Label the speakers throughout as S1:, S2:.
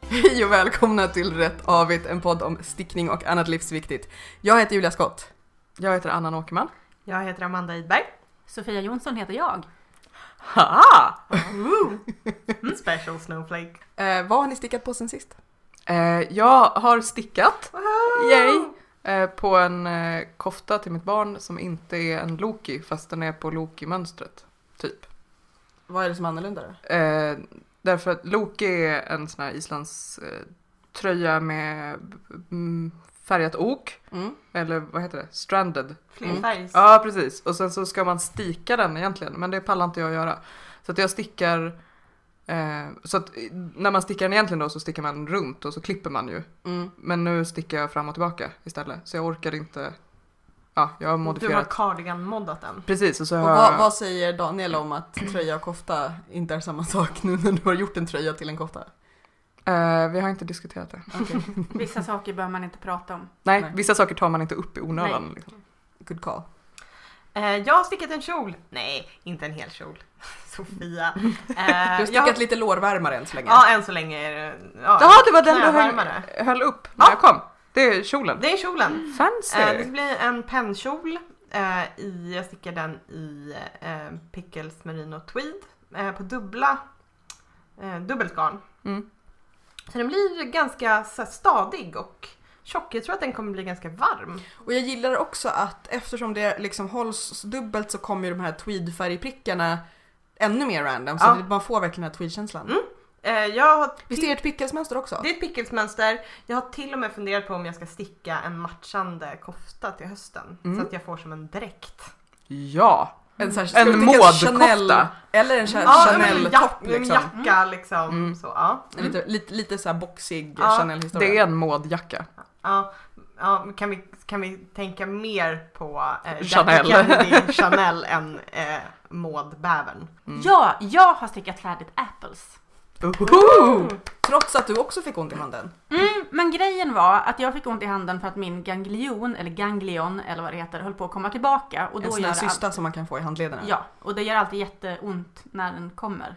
S1: Hej och välkomna till Rätt Avigt, en podd om stickning och annat livsviktigt. Jag heter Julia Skott. Jag heter Anna Åkerman.
S2: Jag heter Amanda Idberg.
S3: Sofia Jonsson heter jag.
S2: Ha! Special snowflake.
S1: Eh, vad har ni stickat på sen sist?
S4: jag har stickat
S1: Yay!
S4: eh, på en eh, kofta till mitt barn som inte är en Loki fast den är på Loki-mönstret. Typ.
S1: Vad är det som är annorlunda då?
S4: Eh, därför att Loki är en sån här Islands eh, tröja med mm, färgat ok.
S1: Mm.
S4: Eller vad heter det? Stranded.
S2: Flerfärgs.
S4: Ja precis. Och sen så ska man stika den egentligen men det pallar inte jag att göra. Så att jag stickar eh, så att eh, när man stickar den egentligen då så stickar man runt och så klipper man ju.
S1: Mm.
S4: Men nu stickar jag fram och tillbaka istället. Så jag orkar inte. Ja, jag har
S2: Du har
S4: modifierat.
S2: cardigan-moddat den.
S4: Precis, och så
S1: Och
S4: har
S1: vad,
S4: jag...
S1: vad säger Daniel om att tröja och kofta inte är samma sak nu när du har gjort en tröja till en kofta?
S4: Eh, vi har inte diskuterat det.
S1: Okej,
S3: Vissa saker bör man inte prata om.
S4: Nej,
S1: Nej.
S4: vissa saker tar man inte upp i onödan.
S3: Nej.
S4: Liksom.
S1: good call.
S2: Eh, jag har stickat en kjol. Nej, inte en hel kjol. Sofia. Eh,
S1: Du har
S2: jag
S1: stickat lite lårvärmare än så länge.
S2: Ja, än så länge är det... Ja,
S4: Jaha, det var den du
S2: knävärmare.
S4: höll, Eh, höll upp när
S2: Ja.
S4: jag kom. Det är kjolen.
S2: Det är kjolen.
S4: Fancy!
S2: Eh, det
S1: Ehm.
S2: ska bli en pennkjol. Eh, i, jag stickar den i eh, Pickles Merino Tweed eh, på dubbla, eh, dubbelt garn.
S4: Mm.
S2: Så den blir ganska så här, stadig och tjock. Jag tror att den kommer bli ganska varm.
S1: Och jag gillar också att eftersom det liksom hålls dubbelt så kommer ju de här tweedfärgprickarna ännu mer random. Så
S2: Ja.
S1: det- man får verkligen den här tweedkänslan.
S2: Mm. Eh, jag har
S1: Visst är det ett pickelsmönster också?
S2: Det är ett pickelsmönster. Jag har till och med funderat på om jag ska sticka en matchande kofta till hösten.
S4: Mm.
S2: Så att jag får som en dräkt.
S4: Ja!
S1: En, sån här-
S4: En
S1: ska vi tänka
S4: modkofta.
S1: Chanel- Eller en cha-
S2: Ja, men en
S1: Chanel-topp
S2: jack-
S1: liksom.
S2: En jacka liksom.
S4: Mm.
S2: Så, ja.
S1: En Lite, lite, lite så här boxig
S2: Ja,
S4: Det
S1: Chanel-historia.
S4: är en modjacka.
S2: Ja, ja, men kan, vi, kan vi tänka mer på eh,
S4: Chanel.
S2: Chanel. Kennedy, Chanel än eh, Maud Bävern?
S1: Mm.
S3: Ja, jag har stickat färdigt apples.
S4: Uhuhu!
S1: Trots att du också fick ont i handen.
S3: Mm, men grejen var att jag fick ont i handen för att min ganglion, eller ganglion eller vad det heter, höll på att komma tillbaka. Och då
S1: en sån
S3: gör
S1: där
S3: det
S1: cysta
S3: all-
S1: som man kan få i handlederna.
S3: Ja, och det gör alltid jätteont när den kommer.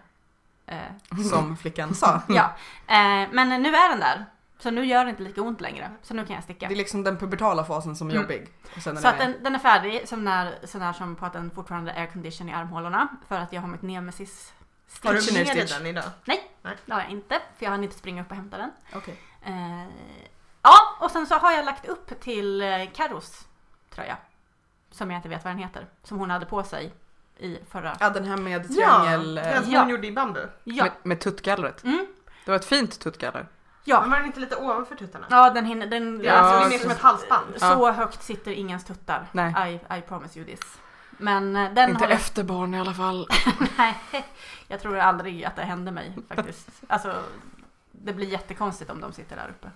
S3: Eh,
S1: Som flickan sa.
S3: ja,
S1: Mm.
S3: eh, men nu är den där. Så nu gör det inte lika ont längre. Så nu kan jag sticka.
S1: Det är liksom den pubertala fasen som är
S3: Mm.
S1: jobbig. Och sen är
S3: Så att
S1: den...
S3: den, den är färdig, som när, så när som på att den fortfarande är aircondition i armhålorna. För att jag har mitt nemesis
S1: Har du
S2: Har du med dig
S1: Chanel-stitch?
S2: den idag?
S3: Det har jag inte, för jag hann inte springa upp och hämta den.
S1: Okej.
S3: Eh, ja, och sen så har jag lagt upp till eh, Carros tröja. Som jag inte vet vad den heter. Som hon hade på sig i förra...
S1: Ja, den här med
S2: Ja,
S1: triangel... eh,
S2: den som
S3: Ja.
S2: hon gjorde i bambu.
S3: Ja,
S4: Med, med tuttgallret.
S3: Mm.
S4: Det var ett fint tuttgaller.
S3: ja.
S2: Men var den inte lite ovanför tuttarna?
S3: ja den hinner... Den,
S2: Det är alltså
S4: Ja,
S2: det är mer som ett halsband.
S3: Så högt sitter ingens tuttar.
S4: Nej.
S3: I, I promise you this. Men eh, den
S4: inte
S3: har...
S4: efter barn i alla fall.
S3: Nej, jag tror aldrig att det hände mig faktiskt. Alltså, det blir jättekonstigt om de sitter där uppe.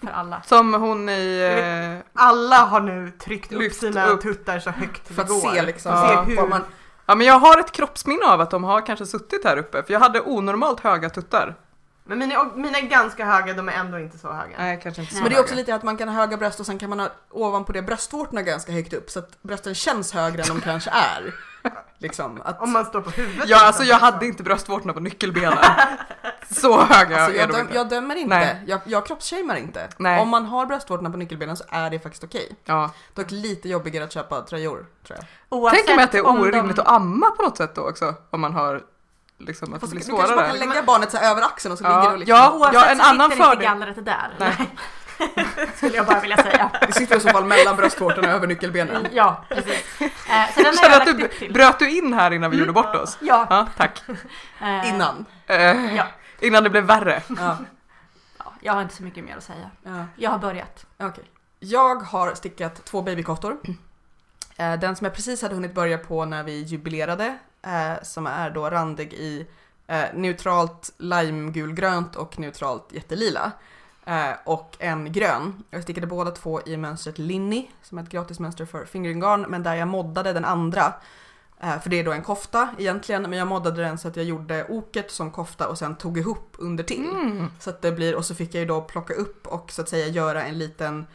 S3: För alla.
S4: Som hon i... eh,
S2: Alla har nu tryckt upp
S4: Lyft
S2: sina
S4: upp.
S2: tuttar så högt det
S1: För att
S2: går.
S1: se liksom
S2: se
S1: vad
S2: hur
S1: man...
S4: Ja men jag har ett kroppsminne av att de har kanske suttit här uppe för jag hade onormalt höga tuttar.
S2: Men mina, och mina är ganska höga, de är ändå inte så höga.
S4: Nej kanske inte så
S1: Men det är också
S4: höga.
S1: lite att man kan ha höga bröst och sen kan man ha ovanpå det bröstvårtorna ganska högt upp så att brösten känns högre än de kanske är. Liksom att...
S2: Om man står på huvudet.
S4: Ja alltså jag
S2: liksom.
S4: hade inte bröstvårtorna på nyckelbenen. så höga
S1: Alltså,
S4: är
S1: jag,
S4: de
S1: döm,
S4: inte.
S1: jag dömer inte,
S4: Nej.
S1: jag, jag kroppsshamear inte.
S4: Nej.
S1: Om man har bröstvårtorna på nyckelbenen så är det faktiskt okej.
S4: Ja.
S1: Dock lite jobbigare att köpa tröjor tror jag.
S3: Oavsett
S4: Tänker mig att det är
S3: om de-
S4: orimligt att amma på något sätt då också om man har liksom att
S1: Fast
S4: det
S1: du
S4: blir
S1: kanske bara kan
S4: svårare.
S1: lägga barnet så här över axeln och så
S4: Ja.
S1: ligger det och liksom...
S4: Ja.
S3: Oavsett
S4: en annan
S3: så sitter
S4: fördel-
S3: inte gallret där.
S4: Nej.
S3: Skulle jag bara vilja säga.
S1: Det sitter i så fall mellan bröstvårtorna och över nyckelbenen.
S3: Ja, precis. Eh, så den har
S4: Känner
S3: jag
S4: att
S3: lagt
S4: du
S3: upp till.
S4: bröt du in här innan
S1: Mm.
S4: vi gjorde bort oss?
S3: Ja.
S4: Ja, tack.
S3: eh,
S1: Innan.
S4: Eh,
S3: Ja.
S4: Innan det blev värre.
S1: Ja.
S3: Ja, jag har inte så mycket mer att säga.
S1: Ja.
S3: Jag har börjat.
S1: Okej. Jag har stickat två babykoftor. Eh, Den som jag precis hade hunnit börja på när vi jubilerade, eh, som är då randig i eh, neutralt limegulgrönt och neutralt jättelila. Eh, Och en grön. Jag stickade båda två i mönstret Linny, som är ett gratismönster för fingeringarn, men där jag moddade den andra. Eh, För det är då en kofta egentligen, men jag moddade den så att jag gjorde oket som kofta och sen tog ihop under till.
S4: Mm.
S1: Så att det blir, och så fick jag ju då plocka upp och så att säga göra en liten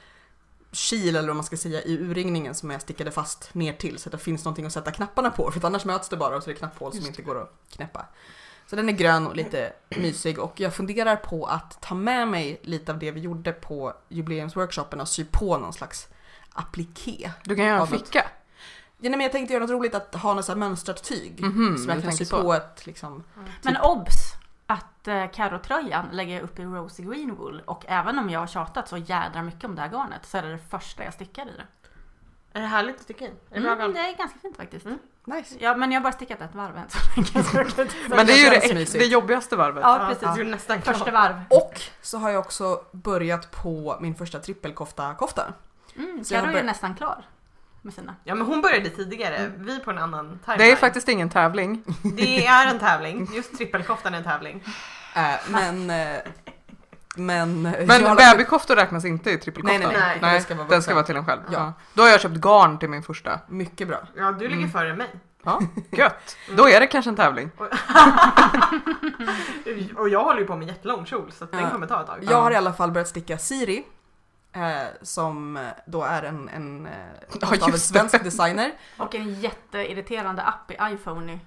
S1: kil eller vad man ska säga i urringningen som jag stickade fast ner till så att det finns någonting att sätta knapparna på för att annars möts det bara och så är det knapphål som
S4: Just
S1: inte går att knäppa. Så den är grön och lite mysig och jag funderar på att ta med mig lite av det vi gjorde på jubileumsworkshopen och sy på någon slags appliké.
S4: Du kan göra en
S1: Av något.
S4: ficka.
S1: Ja, nej, men jag tänkte göra något roligt att ha något så här mönstrat tyg
S4: Mhm,
S1: som jag
S4: du
S1: kan
S4: tänker
S1: sy
S4: så.
S1: på ett liksom.
S3: Men obs! Att eh, Carro-tröjan lägger jag upp i Rosy Green Wool och även om jag har tjatat så jädra mycket om det här garnet så är det det första jag stickar i det.
S2: Är det härligt att sticka i? Är det bra
S3: Mm,
S2: garn?
S3: det är ganska fint faktiskt.
S2: Mm.
S1: Nice.
S3: Ja, men jag har bara stickat ett varv än så länge. så jag kan inte säga.
S4: Men det är ju
S1: känns
S4: det, äk-
S1: mysigt.
S4: det jobbigaste varvet.
S3: Ja, precis.
S2: Du är nästan klar.
S3: Första varv.
S1: Och så har jag också börjat på min första trippelkofta-kofta.
S3: Mm,
S1: Så jag
S3: Carro är
S1: bör-
S3: nästan klar med sina.
S2: Ja men hon började tidigare, vi på en annan timeline.
S4: Det är faktiskt ingen tävling.
S2: Det är en tävling, just trippelkoftan är en tävling.
S1: Eh, men... eh, men... eh, jag
S4: Men
S1: har lagt upp-
S4: babykoftor räknas inte i trippelkofta.
S1: Nej, nej,
S2: Nej,
S1: nej.
S2: den
S1: Det ska vara
S4: Den
S1: vuxen.
S4: ska vara till en själv.
S1: Ja.
S4: Ja. Då har jag köpt garn till min första.
S1: Mycket bra.
S2: Ja du ligger
S4: Mm.
S2: före mig.
S4: Ja, gött.
S1: Mm.
S4: Då är det kanske en tävling.
S2: Och jag håller ju på med jättelång kjol så att den
S1: Ja.
S2: kommer ta ett tag.
S1: Jag har i alla fall börjat sticka Siri. Eh, som då är en, en eh,
S4: Ja,
S1: kost av en
S4: just det.
S1: svensk designer.
S3: Och en jätteirriterande app i iPhone.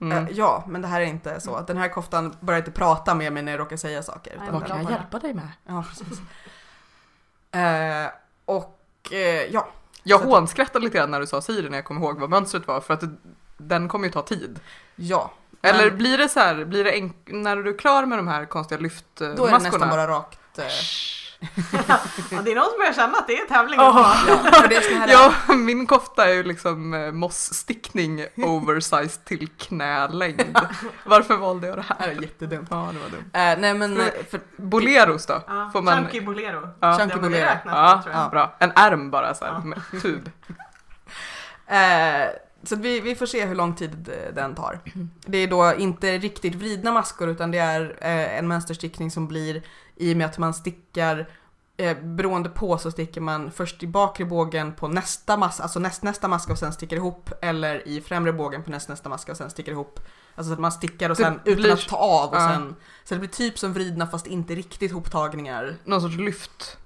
S4: Mm.
S1: Eh, ja, men det här är inte så. Den här koftan börjar inte prata med mig när jag råkar säga saker.
S3: Nej,
S1: utan
S3: vad
S4: Vad
S1: den-
S4: kan jag
S3: bara-
S4: hjälpa dig med?
S1: Ja, precis. Eh, och eh, ja,
S4: Jag
S1: Så-
S4: hånskrattade lite grann när du sa Siri när jag kom ihåg vad mönstret var för att det, den kommer ju ta tid.
S1: ja. Men
S4: Eller blir det så här, blir det enk- när du är klar med de här konstiga lyftmaskorna?
S1: Då är det nästan bara rakt. Eh,
S2: Ja, det är någon som börjar känna att det är tävling.
S1: ja, för det är sån här,
S4: Ja, min kofta är ju liksom eh, mossstickning oversized till knälängd. Varför valde jag det
S1: Det här
S4: här?
S1: är jättedumt.
S4: Ja, det var dumt.
S1: Eh, nej men, eh, för,
S4: Boleros då?
S2: Ja,
S4: Får man...
S2: Chunky Bolero.
S4: Ja.
S1: Chunky
S2: Den borde
S1: Bolero.
S2: räknas,
S4: Ja,
S2: tror jag.
S4: ja, bra. En ärm bara så här,
S2: Ja.
S4: med tub.
S1: eh, så att vi, vi får se hur lång tid eh, den tar. Det är då inte riktigt vridna maskor utan det är eh, en mönsterstickning som blir i och med att man stickar eh, beroende på så sticker man först i bakre bågen på nästa mask, alltså näst, nästa maska och sen sticker ihop eller i främre bågen på näst, nästa maska och sen sticker ihop. Alltså så att man stickar och
S4: Det
S1: sen
S4: blir-
S1: utan att ta av och
S4: Ja.
S1: sen så det blir typ som vridna fast inte riktigt hoptagningar.
S4: Någon sorts lyft.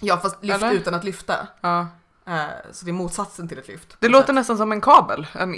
S1: Ja fast lyft
S4: Eller?
S1: utan att lyfta.
S4: Ja.
S1: Eh, så det är motsatsen till ett lyft.
S4: Det låter nästan som en kabel, en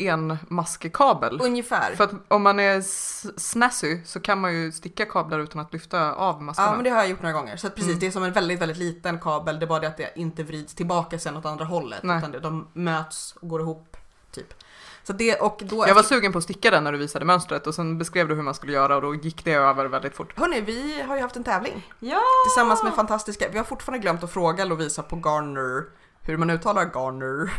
S4: enmaskekabel.
S1: Ungefär.
S4: För att om man är s- snassy så kan man ju sticka kablar utan att lyfta av maskorna.
S1: Ja men det har jag gjort några gånger. Så att precis,
S4: Mm.
S1: det är som en väldigt, väldigt liten kabel. Det är bara det att det inte vrids tillbaka sen åt andra hållet.
S4: Nej.
S1: Utan det, de möts och går ihop. Typ. Så det och då...
S4: Jag var sugen på att sticka den när du visade mönstret och sen beskrev du hur man skulle göra och då gick det över väldigt fort.
S1: Hörni, vi har ju haft en tävling
S2: Ja!
S1: tillsammans med fantastiska... Vi har fortfarande glömt att fråga Lovisa på Garner hur man uttalar Garner.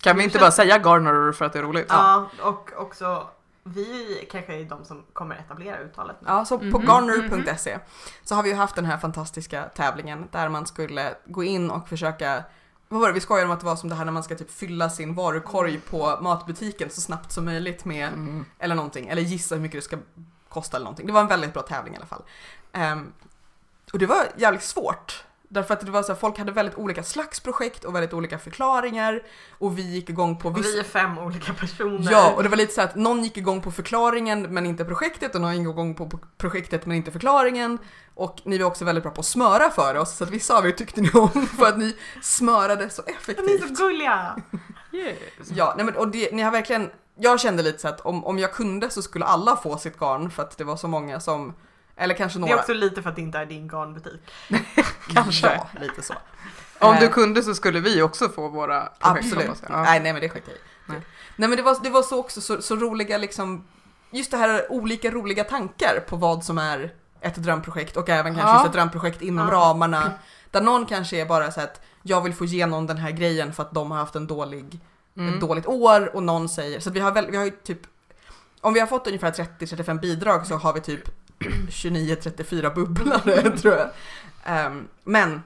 S4: Kan vi inte bara säga Garner för att det är roligt?
S2: Ja, och också vi kanske är de som kommer etablera uttalet. nu.
S1: Ja, så på
S3: Mhm,
S1: garner.se så har vi ju haft den här fantastiska tävlingen där man skulle gå in och försöka vad var det? Vi skojade om att det var som det här när man ska typ fylla sin varukorg på matbutiken så snabbt som möjligt med
S4: Mm.
S1: eller någonting, eller gissa hur mycket det ska kosta eller någonting. Det var en väldigt bra tävling i alla fall. Ehm, och det var jävligt svårt. Därför att det var så här, folk hade väldigt olika slags projekt och väldigt olika förklaringar och vi gick igång på
S2: Och
S1: vissa...
S2: vi är fem olika personer.
S1: Ja, och det var lite så här att någon gick igång på förklaringen men inte projektet och någon gick igång på på projektet men inte förklaringen. Och ni var också väldigt bra på att smöra för oss så att vi sa vad vi tyckte ni om för att ni smörade så
S2: Ja, Ni är
S1: effektivt.
S2: så gulliga!
S1: Ja, nej men, och det, ni har verkligen, jag kände lite så att om, om jag kunde så skulle alla få sitt garn för att det var så många som, eller kanske
S2: Det är
S1: några.
S2: också lite för att det inte är din garnbutik.
S4: kanske.
S1: Ja, lite så.
S4: Om du
S1: Eh,
S4: kunde så skulle vi också få våra projekt.
S1: Absolut.
S4: hoppas jag. Ja.
S1: Nej, nej men det skiter jag i.
S4: Nej.
S1: Nej. men det var, det var så också, så, så roliga liksom, just det här olika roliga tankar på vad som är ett drömprojekt och även kanske
S4: Ja.
S1: just ett drömprojekt inom
S2: Ja.
S1: ramarna. Där någon kanske är bara så att jag vill få igenom den här grejen för att de har haft en dålig ett
S4: Mm.
S1: dåligt år och någon säger, så att vi har väl, vi har ju typ, om vi har fått ungefär 30-35 bidrag så har vi typ 29-34 bubblare tror jag. Ehm, men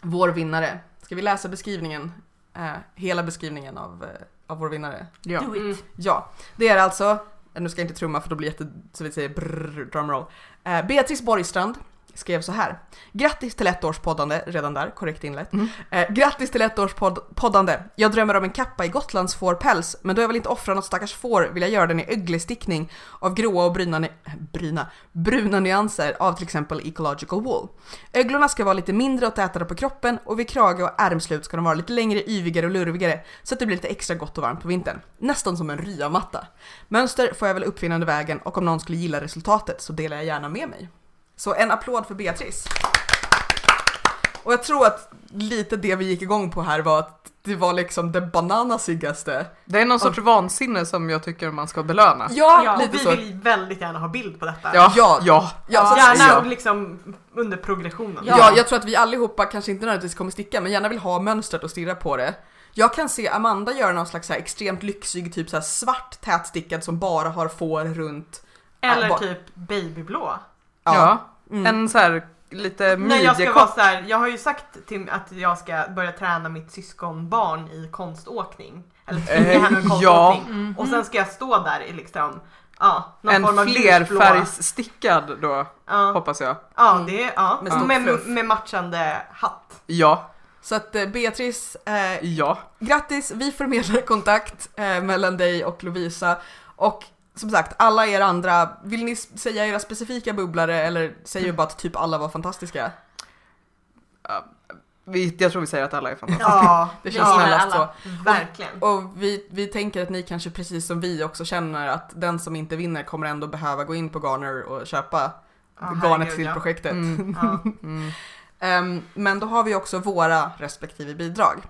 S1: vår vinnare, ska vi läsa beskrivningen, Eh, hela beskrivningen av, eh, av vår vinnare?
S4: Ja.
S3: Do it.
S2: Mm.
S1: Ja, det är alltså, nu ska jag inte trumma för då blir det jätte, så vi säger brrr, drumroll. Eh, Beatrice Borgstrand skrev så här. Grattis till ett års poddande, redan där, korrekt inlett.
S4: Mm.
S1: Eh, grattis till ett års podd- poddande. Jag drömmer om en kappa i Gotlands fårpäls, men då jag vill inte offra något stackars får vill jag göra den i öglestickning av gråa och bryna, ny- eh, bryna, bruna nyanser av till exempel ecological wool. Öglorna ska vara lite mindre och tätare på kroppen och vid krage och ärmslut ska de vara lite längre, yvigare och lurvigare så att det blir lite extra gott och varmt på vintern. Nästan som en ryamatta. Mönster får jag väl uppfinna under vägen och om någon skulle gilla resultatet så delar jag gärna med mig. Så en applåd för Beatrice. Och jag tror att lite det vi gick igång på här var att det var liksom det bananasigaste.
S4: Det är någon sorts vansinne som jag tycker man ska belöna.
S1: Ja,
S3: Ja,
S1: lite
S2: vi
S1: så.
S2: vill väldigt gärna ha bild på detta.
S4: Ja,
S1: Ja.
S4: ja. ja.
S1: Ja, så att,
S2: gärna
S1: ja.
S2: liksom under progressionen.
S1: Ja. jag tror att vi allihopa kanske inte nödvändigtvis kommer sticka, men gärna vill ha mönstret och stirra på det. Jag kan se Amanda göra någon slags så här extremt lyxig, typ så här svart tätstickad som bara har får runt.
S4: Ah,
S2: Eller
S1: Ja, ba-
S2: typ babyblå.
S1: Mm.
S4: En så här lite
S2: Nej, jag ska vara
S4: midjekort.
S2: så här, jag har ju sagt till att jag ska börja träna mitt syskonbarn i konståkning. Eller tvinga
S4: Eh,
S2: henne i
S4: ja.
S2: konståkning. Och sen ska jag stå där i liksom, ja, någon
S4: En
S2: form av ljusblå-
S4: flerfärgsstickad då,
S2: Ja,
S4: hoppas jag.
S2: ja, det är, ja.
S1: Med stort
S2: Med,
S1: fluff.
S2: med matchande hatt.
S4: Ja,
S1: Så att eh, Beatrice, eh,
S4: ja.
S1: grattis, vi förmedlar kontakt eh, mellan dig och Lovisa. Och som sagt, alla er andra, vill ni s- säga era specifika bubblare eller säger vi bara att typ alla var fantastiska?
S4: Vi, jag tror vi säger att alla är fantastiska.
S2: Ja,
S1: Det
S3: Vi
S1: känns
S3: gillar
S1: snällast
S3: alla.
S1: så.
S2: verkligen.
S1: Och vi, vi tänker att ni kanske precis som vi också känner att den som inte vinner kommer ändå behöva gå in på Garner och köpa
S2: Ja,
S1: garnet
S2: herregud,
S1: till
S2: ja.
S1: projektet.
S4: Mm,
S2: Ja.
S4: mm.
S1: Ehm, men då har vi också våra respektive bidrag.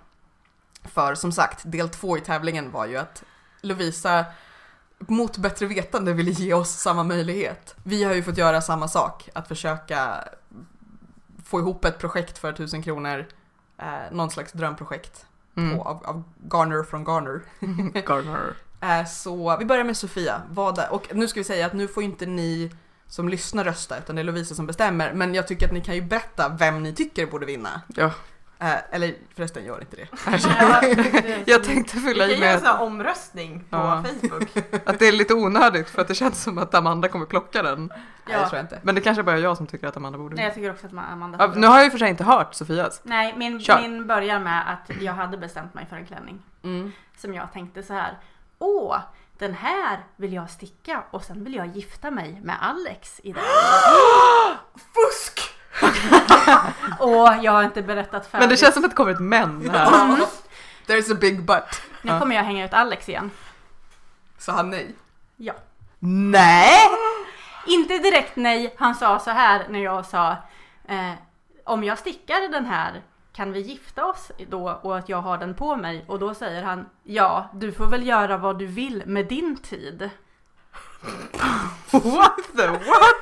S1: För som sagt, del två i tävlingen var ju att Lovisa mot bättre vetande ville ge oss samma möjlighet. Vi har ju fått göra samma sak, att försöka få ihop ett projekt för 1000 kronor, eh, någon slags drömprojekt
S4: Mm.
S1: på, av, av Garner från Garner.
S4: Garner.
S1: Eh, Så vi börjar med Sofia. Vad är, och nu ska vi säga att nu får inte ni som lyssnar rösta utan det är Lovisa som bestämmer. Men jag tycker att ni kan ju berätta vem ni tycker borde vinna.
S4: Ja.
S1: Eh, Eller förresten, gör inte det.
S4: Mm. Jag tänkte fylla
S2: Vi
S4: i
S2: kan göra en
S4: med
S2: sån här omröstning på
S4: Ja.
S2: Facebook.
S4: att det är lite onödigt för att det känns som att Amanda kommer plocka den.
S1: Nej, det
S3: Ja.
S1: tror jag inte.
S4: Men det kanske bara är jag som tycker att Amanda borde
S3: Nej,
S4: vinna.
S3: jag tycker också att man- Amanda
S4: Ja, nu har jag ju för sig inte hört Sofias.
S3: Nej, min,
S4: Kör.
S3: min börjar med att jag hade bestämt mig för en klänning.
S1: Mm.
S3: Som jag tänkte så här. Åh, den här vill jag sticka och sen vill jag gifta mig med Alex i den.
S2: Fusk!
S3: och jag har inte berättat färdigt.
S4: Men det känns som att det kommer ett men här.
S1: Mm. There's a big but.
S3: Nu kommer jag hänga ut Alex igen.
S1: Sa han nej?
S3: Ja.
S4: Nej!
S3: Inte direkt nej, han sa så här när jag sa eh, om jag stickar den här kan vi gifta oss då och att jag har den på mig? Och då säger han ja, du får väl göra vad du vill med din tid.
S4: What the what?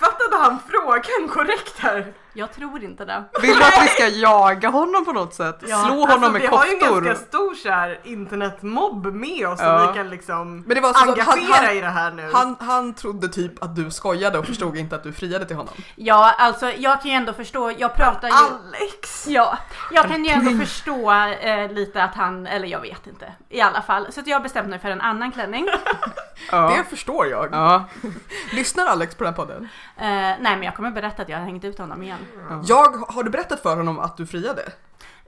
S2: Fattade han frågan korrekt här?
S3: Jag tror inte det.
S4: Vill du att vi ska jaga honom på något sätt?
S3: Ja,
S4: Slå honom
S2: alltså, vi
S4: med
S2: har ju en ganska
S4: koftor?
S2: stor så här, internetmobb med oss
S4: Ja.
S2: som vi kan liksom
S1: Men det var alltså så-
S2: engagera
S1: han, han,
S2: i det här nu.
S1: han, han trodde typ att du skojade och förstod inte att du friade till honom.
S3: Ja, alltså jag kan ju ändå förstå, jag pratar ju...
S2: Alex!
S3: Ja, jag kan ju ändå förstå eh, lite att han, eller jag vet inte, i alla fall. Så att jag har bestämt mig för en annan klänning.
S4: Ja.
S1: Det förstår jag.
S4: Ja.
S1: Lyssnar Alex på den här podden?
S3: Eh, nej, men jag kommer berätta att jag har hängt ut honom igen.
S1: Jag, har du berättat för honom att du friade?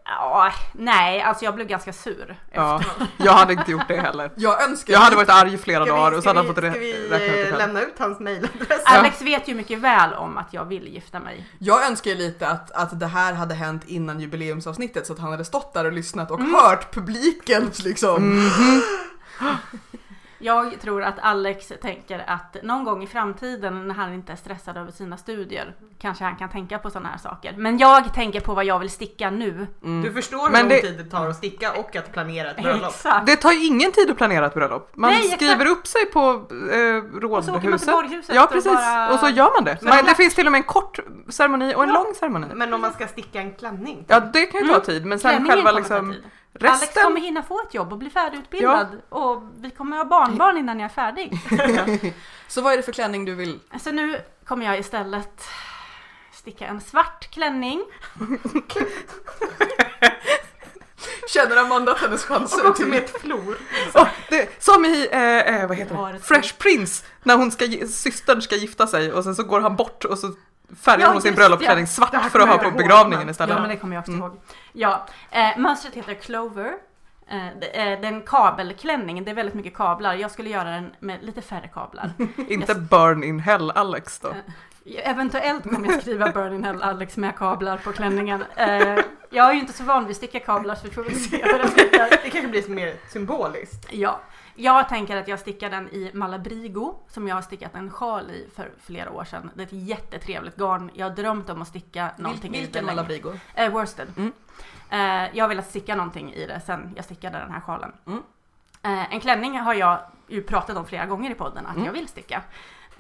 S3: Ja, nej, alltså jag blev ganska sur.
S4: ja. Jag hade inte gjort det heller.
S1: Jag önskar
S4: Jag hade varit arg i flera
S2: Ska
S4: dagar
S2: vi,
S4: och
S2: ska
S4: så hade
S2: vi,
S4: han fått
S2: ska
S4: rä-
S2: vi
S4: räkna ut det
S2: eh,
S4: själv.
S2: lämna ut hans mejladress?
S3: Alex vet ju mycket väl om att jag vill gifta mig.
S1: Jag önskar ju lite att, att det här hade hänt innan jubileumsavsnittet så att han hade stått där och lyssnat och hört publiken liksom.
S3: Jag tror att Alex tänker att någon gång i framtiden när han inte är stressad över sina studier kanske han kan tänka på sådana här saker. Men jag tänker på vad jag vill sticka nu.
S4: Mm.
S2: Du förstår hur
S4: Men
S2: lång
S4: det-
S2: tid det tar att sticka och att planera ett bröllop.
S3: Exakt.
S4: Det tar ju ingen tid att planera ett bröllop. Man
S3: Nej, exakt.
S4: skriver upp sig på eh,
S3: Och så åker man till
S4: rådhuset.
S3: borghuset
S4: Ja precis,
S3: och bara...
S4: och så gör man det.
S2: Men
S4: Men
S2: alla-
S4: det finns till och med en kort ceremoni och en lång ceremoni.
S2: Men om man ska sticka en klänning?
S4: Ja det kan ju ta
S3: Mm.
S4: tid men sen
S3: Klänningen
S4: själva
S3: kommer ta
S4: liksom
S3: tid. Alex kommer
S4: resten.
S3: hinna få ett jobb och bli färdigutbildad och vi kommer ha barnbarn innan jag är färdig.
S1: Så vad är det för klänning du vill?
S3: Så nu kommer jag istället sticka en svart klänning.
S1: Känner Amanda att hennes
S2: Och
S1: chanser
S2: också
S1: till...
S2: med ett flor.
S4: Åh, det, som i, eh, eh, vad heter
S3: Har
S4: det?
S3: ett-
S4: Fresh Prince när hon ska, gi- systern ska gifta sig och sen så går han bort och så färgen
S3: Ja,
S4: på sin
S3: just
S4: bröllopsklänning
S3: det.
S4: svart
S2: Det här
S4: för att
S2: kommer
S4: ha på
S2: jag ihåg.
S4: begravningen istället.
S3: Ja men det kommer jag också
S4: Mm.
S3: ihåg. Ja, eh, mönstret heter Clover. Eh, det är det är en kabelklänning, det är väldigt mycket kablar. Jag skulle göra den med lite färre kablar.
S4: Inte burn in hell Alex då.
S3: Eh. Eventuellt kommer jag skriva Burn in Hell Alex med kablar på klänningen. Eh, jag är ju inte så van vid att sticka kablar så vi får väl se hur den slutar.
S2: Det kanske blir mer symboliskt.
S3: Ja, jag tänker att jag stickar den i Malabrigo som jag har stickat en sjal i för flera år sedan. Det är ett jättetrevligt garn. Jag har drömt om att sticka någonting i det
S1: Vilken
S3: länge.
S1: Malabrigo?
S3: Eh, worsted.
S1: Mm.
S3: Eh, jag har velat sticka någonting i det sen jag stickade den här sjalen.
S1: Mm.
S3: Eh, en klänning har jag ju pratat om flera gånger i podden att
S1: Mm.
S3: jag vill sticka.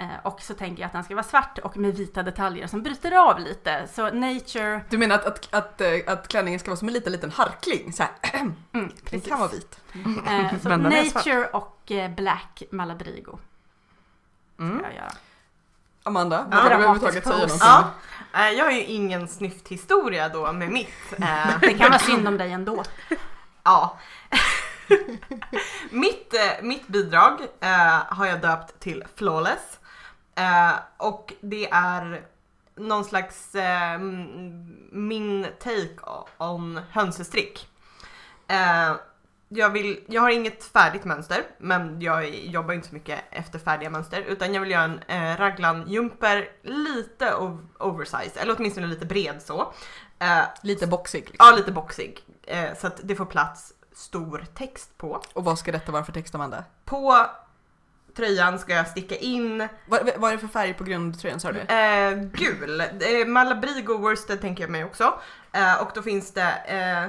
S3: Eh, och så tänker jag att den ska vara svart och med vita detaljer som bryter av lite. Så nature, mm,
S1: Du menar att, att, att, eh, att klänningen ska vara som en liten, liten harkling? Så här,
S3: mm,
S1: den
S3: precis.
S1: kan vara vit.
S3: Eh, så
S4: Men den är svart.
S3: nature och eh, black Malabrigo ska
S4: Mm.
S3: jag göra.
S1: Amanda,
S2: Ja.
S1: vågar du överhuvudtaget
S3: Dramatisk
S1: säga
S3: pose.
S1: någonting?
S2: Ja. Eh, Jag har ju ingen snyfthistoria då med mitt. eh,
S3: Det kan vara synd om dig ändå.
S2: Ja. mitt, eh, mitt bidrag eh, har jag döpt till Flawless. Eh, och det är någon slags eh, m- min take o- on hönsestrick. Eh, jag, vill, jag har inget färdigt mönster, men jag jobbar inte så mycket efter färdiga mönster. Utan jag vill göra en eh, raglan-jumper lite ov- oversize, eller åtminstone lite bred så. Eh,
S1: Lite boxig. Liksom.
S2: Ja, lite boxig. Eh, så att det får plats stor text på.
S1: Och vad ska detta vara för text, Amanda?
S2: På tröjan ska jag sticka in
S1: Vad, vad är det för färg på grundtröjan, sa du?
S2: eh, gul. Eh, Malabrigo worsted tänker jag mig också. Eh, och då finns det eh,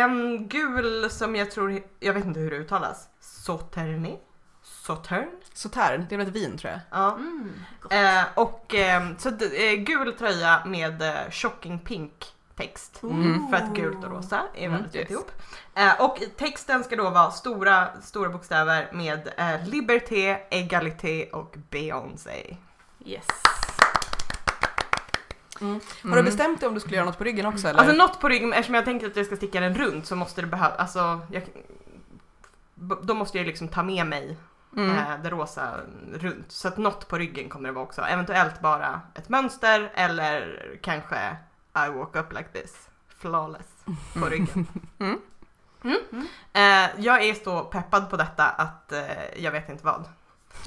S2: en gul som jag tror, jag vet inte hur det uttalas. Sauterny? Sautern?
S1: Sautern, det är väl ett vin tror jag?
S2: Ja.
S3: Mm, gott.
S2: Eh, och eh, så d- eh, gul tröja med eh, shocking pink text.
S4: Mm.
S2: För att gult och rosa är
S1: Mm,
S2: väldigt
S4: yes.
S2: tätt ihop. Eh, och i texten ska då vara stora, stora bokstäver med eh, Liberté, Egalité och Beyoncé.
S3: Yes.
S1: Har
S4: Mm.
S1: du bestämt dig om du skulle göra något på ryggen också eller?
S2: Alltså något på ryggen, eftersom jag tänker att jag ska sticka den runt så måste det behöva, alltså jag, b- då måste jag liksom ta med mig
S4: Mm.
S2: eh, det rosa runt. Så att något på ryggen kommer det vara också. Eventuellt bara ett mönster eller kanske I walk up like this, flawless, på ryggen.
S4: Mm.
S2: Mm. Eh, jag är så peppad på detta att eh, jag vet inte vad.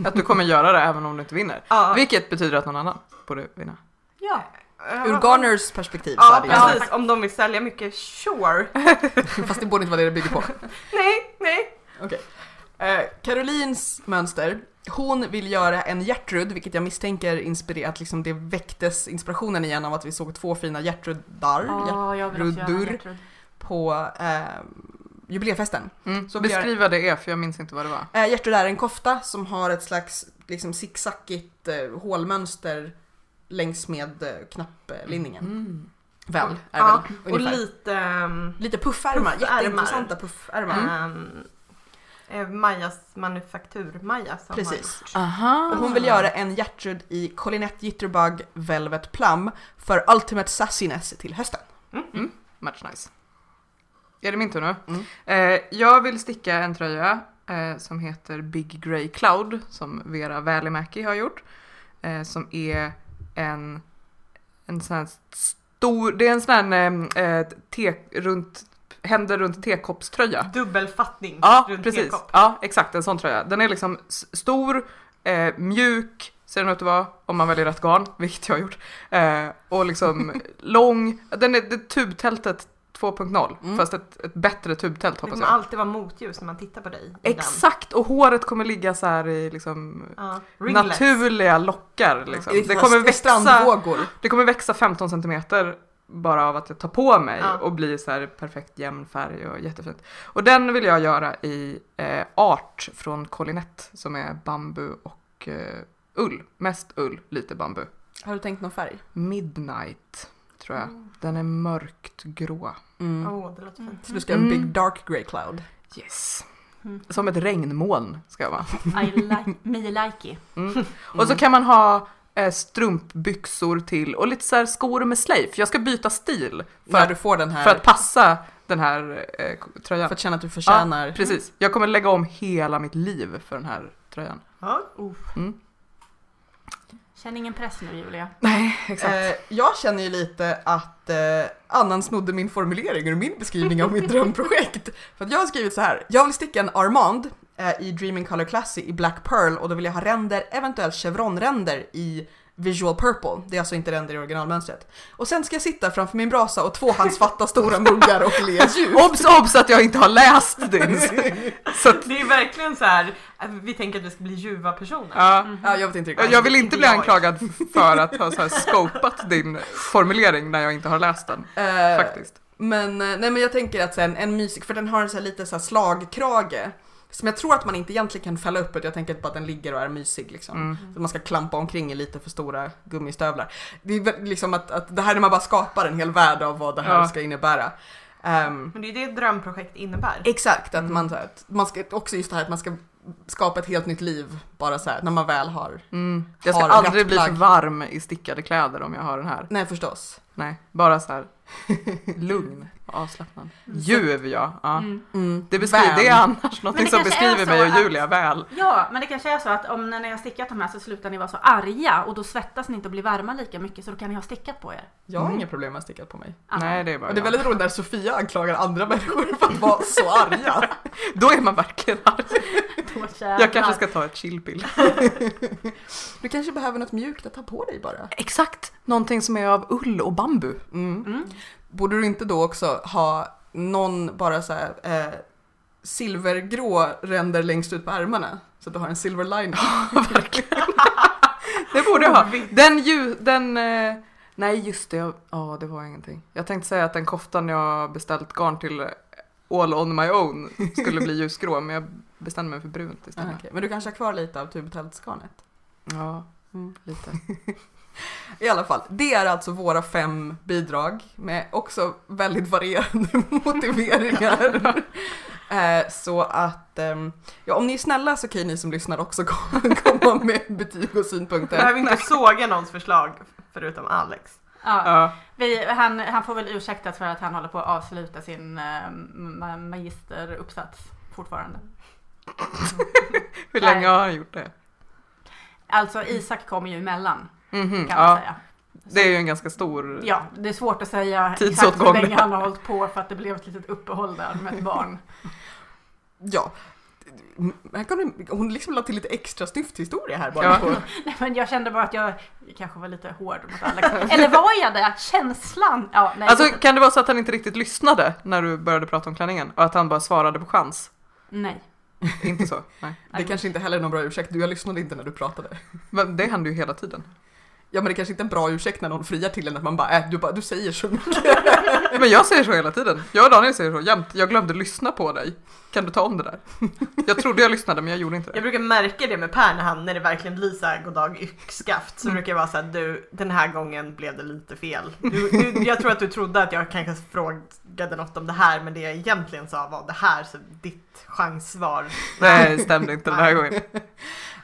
S4: Att du kommer göra det även om du inte vinner.
S2: Ja,
S4: Vilket betyder att någon annan borde vinna.
S3: Ja.
S2: eh,
S1: Ur Garners perspektiv så
S2: Ja,
S1: hade jag
S2: precis. Om de vill sälja mycket, sure.
S1: Fast det borde inte vara det det bygger på.
S2: nej, nej.
S1: Okej. Eh, Carolines mönster. Hon vill göra en Gertrud, vilket jag misstänker inspirerat, att liksom det väcktes inspirationen igen av att vi såg två fina Gertrudar
S3: Ja, jag vill också göra
S1: Rudur.
S3: en Gertrud.
S1: på eh, jubileefesten.
S4: Mm.
S1: Så
S4: Så
S1: vi gör-
S4: Beskriva det är för jag minns inte vad det var.
S1: Eh, Gertrud är en kofta som har ett slags liksom zigzackigt eh, hålmönster längs med eh, knapplinningen.
S4: Mm.
S1: Väl, är
S2: Ja,
S1: väl
S2: och
S1: ungefär. Mm.
S2: lite... ehm,
S1: Lite puffärmar,
S2: Puffärmar.
S1: jätteintressanta puffärmar.
S2: ehm, eh, Majas manufaktur, Maja som
S1: Precis. Ah.
S2: har gjort.
S1: Och
S4: Aha.
S1: hon vill göra en Gertrud i Collinette Jitterbug Velvet Plum för Ultimate Sassiness till hösten.
S2: Mm.
S4: Much nice. Är det min tur nu?
S1: Mm.
S4: Eh, jag vill sticka en tröja eh, som heter Big Grey Cloud som Vera Välimäki har gjort. Eh, som är en, en sån här stor, det är en sån här eh, eh, te, runt, händer runt tekoppströja.
S2: Dubbelfattning
S4: Ja,
S2: runt
S4: precis.
S2: tekopp.
S4: Ja, exakt. En sån tröja. Den är liksom s- stor, eh, mjuk, ser den ut att vara, om man väljer rätt garn, vilket jag har gjort. Eh, och liksom lång. Den är, det är tubtältet 2.0,
S1: Mm.
S4: fast ett, ett bättre tubtält
S2: Det
S4: hoppas
S2: kommer
S4: jag.
S2: alltid vara motljus när man tittar på dig. i
S4: Exakt, och håret kommer ligga så här i liksom
S2: den. Ja. Ringlets.
S4: naturliga lockar. Liksom. Det,
S1: är
S4: kommer
S1: st-
S4: växa,
S1: Strandvågor.
S4: det kommer växa 15 centimeter bara av att jag tar på mig
S2: Ja.
S4: och blir så här perfekt jämn färg och jättefint. Och den vill jag göra i eh, art från Collinette som är bambu och eh, ull. Mest ull, lite bambu.
S1: Har du tänkt någon färg?
S4: Midnight tror jag.
S3: Mm.
S4: Den är mörkt grå.
S2: Åh,
S1: Mm.
S2: oh, det låter fint.
S1: Så du ska ha en
S4: Mm.
S1: Big Dark Grey Cloud.
S4: Yes.
S3: Mm.
S4: Som ett regnmoln ska jag vara. Mm.
S3: I like, me likey.
S4: Och
S1: Mm.
S4: så kan man ha eh, strumpbyxor till och lite så här skor med slave. Jag ska byta stil för,
S1: När
S4: att,
S1: du får den här,
S4: för att passa den här eh, k- tröjan.
S1: för att känna att du förtjänar.
S4: Mm. Precis, jag kommer lägga om hela mitt liv för den här tröjan.
S2: Ja.
S4: Mm.
S3: Känn ingen press nu Julia.
S4: Nej, exakt.
S1: Eh, jag känner ju lite att eh, annan snodde min formulering ur min beskrivning av mitt drömprojekt. För att jag har skrivit så här. Jag vill sticka en Armand eh, i Dreaming Color Classic i Black Pearl och då vill jag ha ränder, eventuellt chevronränder i Visual Purple. Det är alltså inte ränder i originalmönstret. Och sen ska jag sitta framför min brasa och tvåhandsfatta stora muggar och le ljus.
S4: Obs, obs att jag inte har läst din! Så att,
S2: Det är verkligen så här, att vi tänker att vi ska bli ljuva personer.
S4: ja.
S3: Mm.
S1: Ja, jag vet inte riktigt.
S4: Jag jag vill inte bli anklagad för att ha så här skopat din formulering när jag inte har läst den,
S1: Eh,
S4: faktiskt.
S1: Men, eh, nej, men jag tänker att sen en mysig, för den har en så här lite så här slagkrage. Som jag tror att man inte egentligen kan fälla upp, utan jag tänker bara att den ligger och är mysig liksom.
S4: Mm.
S1: Så man ska klampa omkring i lite för stora gummistövlar. Det är väl liksom att, att det här är när man bara skapar en hel värld av vad det här
S4: Ja.
S1: ska innebära. Ehm,
S2: Men det är ju det ett drömprojekt innebär.
S1: exakt,
S4: Mm.
S1: att man, så här, att man ska, också just det här att man ska skapa ett helt nytt liv bara så här när man väl har.
S4: Mm. Jag ska
S1: Har
S4: aldrig bli för
S1: nattplagg.
S4: varm i stickade kläder om jag har den här.
S1: Nej förstås.
S4: Nej, bara så här lugn och avslappnad. Ljuv ja. ja.
S3: Mm.
S1: Mm,
S4: Det, beskriver,
S1: väl.
S4: det är annars någonting som
S3: kanske är
S4: beskriver
S3: så
S4: mig och
S3: att-
S4: Julia väl.
S3: Ja, men det kanske är så att om när ni har stickat de här så slutar ni vara så arga och då svettas ni inte och blir varma lika mycket så då kan ni ha stickat på er.
S1: Jag har
S4: Mm.
S1: inga problem med att sticka på mig.
S3: Ah.
S4: Nej, det är bara
S1: Och det är
S4: jag.
S1: väldigt roligt när Sofia anklagar andra människor för att vara så arga.
S4: Då är man verkligen arg.
S3: Då
S4: Jag kanske ska ta ett chillpill.
S1: Du kanske behöver något mjukt att ta på dig bara.
S4: Exakt! Någonting som är av ull och bambu.
S1: Mm.
S3: Mm.
S1: Borde du inte då också ha någon bara så här, eh, silvergrå ränder längst ut på ärmarna? Så att du har en silver lining.
S4: Verkligen. Det borde jag ha. Den ljus... Den... eh, Nej just det, jag- ja det var ingenting. Jag tänkte säga att den koftan jag beställt garn till eh, all on my own skulle bli ljusgrå men jag bestämde mig för brunt
S1: Ja,
S3: Ah,
S4: istället.
S1: Ah, okej. Men du kanske har kvar lite av tubtältsgarnet.
S4: Ja,
S1: Mm.
S4: lite.
S1: I alla fall, det är alltså våra fem bidrag med också väldigt varierande motiveringar. Eh, Så att, ehm, ja om ni är snälla så kan ju ni som lyssnar också kom- komma med betyg och
S2: Vi
S1: synpunkter.
S2: behöver inte såga någons förslag förutom Alex.
S3: Ja.
S4: Ja.
S3: Vi, han, han får väl ursäktas för att han håller på att avsluta sin eh, ma- magisteruppsats fortfarande. Nej.
S4: Hur länge har han gjort det?
S3: Alltså Isak kommer ju emellan
S4: Mhm,
S3: kan man
S4: ja,
S3: säga.
S4: det är ju en ganska stor...
S3: Ja, det är svårt att säga exakt hur
S4: Tidsåtgång.
S3: länge han har hållit på för att det blev ett litet uppehåll där med ett barn.
S1: Ja. Här kan du, hon liksom la till lite extra snyfthistoria här bara.
S4: Ja.
S1: På.
S3: Nej, men jag kände bara att jag kanske var lite hård mot Alex. Eller var jag det? Känslan? Ja, nej,
S4: Alltså
S3: jag-
S4: kan det vara så att han inte riktigt lyssnade när du började prata om klänningen och att han bara svarade på chans?
S3: nej.
S4: Inte så? Nej.
S1: Det kanske inte heller är någon bra ursäkt, du jag lyssnade inte när du pratade.
S4: Men det händer ju hela tiden.
S1: Ja men det kanske inte är en bra ursäkt när någon friar till en att man bara, äh, du, bara du säger så mycket.
S4: Men jag säger så hela tiden. Jag och Daniel säger så jämt. Jag glömde lyssna på dig. Kan du ta om det där? Jag trodde jag lyssnade men jag gjorde inte det.
S2: Jag brukar märka det med Per när, han, när det verkligen blir såhär goddag yxskaft.
S4: Mm.
S2: Så brukar jag vara såhär, du den här gången blev det lite fel. Du, du, jag tror att du trodde att jag kanske frågade något om det här men det jag egentligen sa var det här så ditt chanssvar.
S4: Nej, det stämde inte den här gången.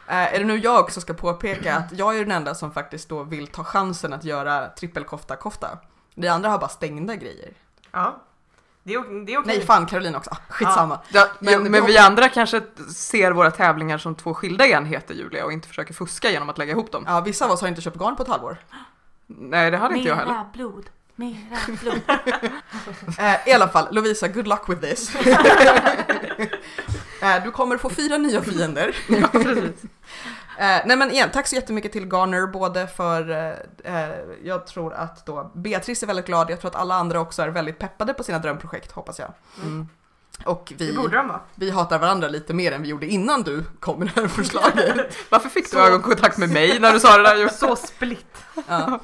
S1: Äh, är det nu jag också ska påpeka att jag är den enda som faktiskt då vill ta chansen att göra trippelkofta-kofta. De andra har bara stängda grejer.
S2: Ja. Det är, o- det är okej.
S1: Nej fan, Caroline också. Ah, skitsamma.
S4: Ja,
S1: Men-
S4: men, men vi andra kanske ser våra tävlingar som två skilda enheter Julia och inte försöker fuska genom att lägga ihop dem.
S1: Ja, vissa av oss har inte köpt garn på ett halvår.
S4: Nej, det hade inte jag heller.
S3: Mera blod. Mera blod.
S1: Eh, I alla fall, Lovisa, good luck with this. eh, du kommer få fyra nya fiender. eh, nej men igen, tack så jättemycket till Garner både för, eh, eh, jag tror att då Beatrice är väldigt glad, jag tror att alla andra också är väldigt peppade på sina drömprojekt hoppas jag.
S4: Mm.
S1: Och
S2: Det
S1: vi,
S2: borde de vara.
S1: vi hatar varandra lite mer än vi gjorde innan du kom med det här förslaget.
S4: Varför fick
S1: Så-
S4: du ögonkontakt med mig när du sa det där? Ju?
S2: Så split.
S1: ja.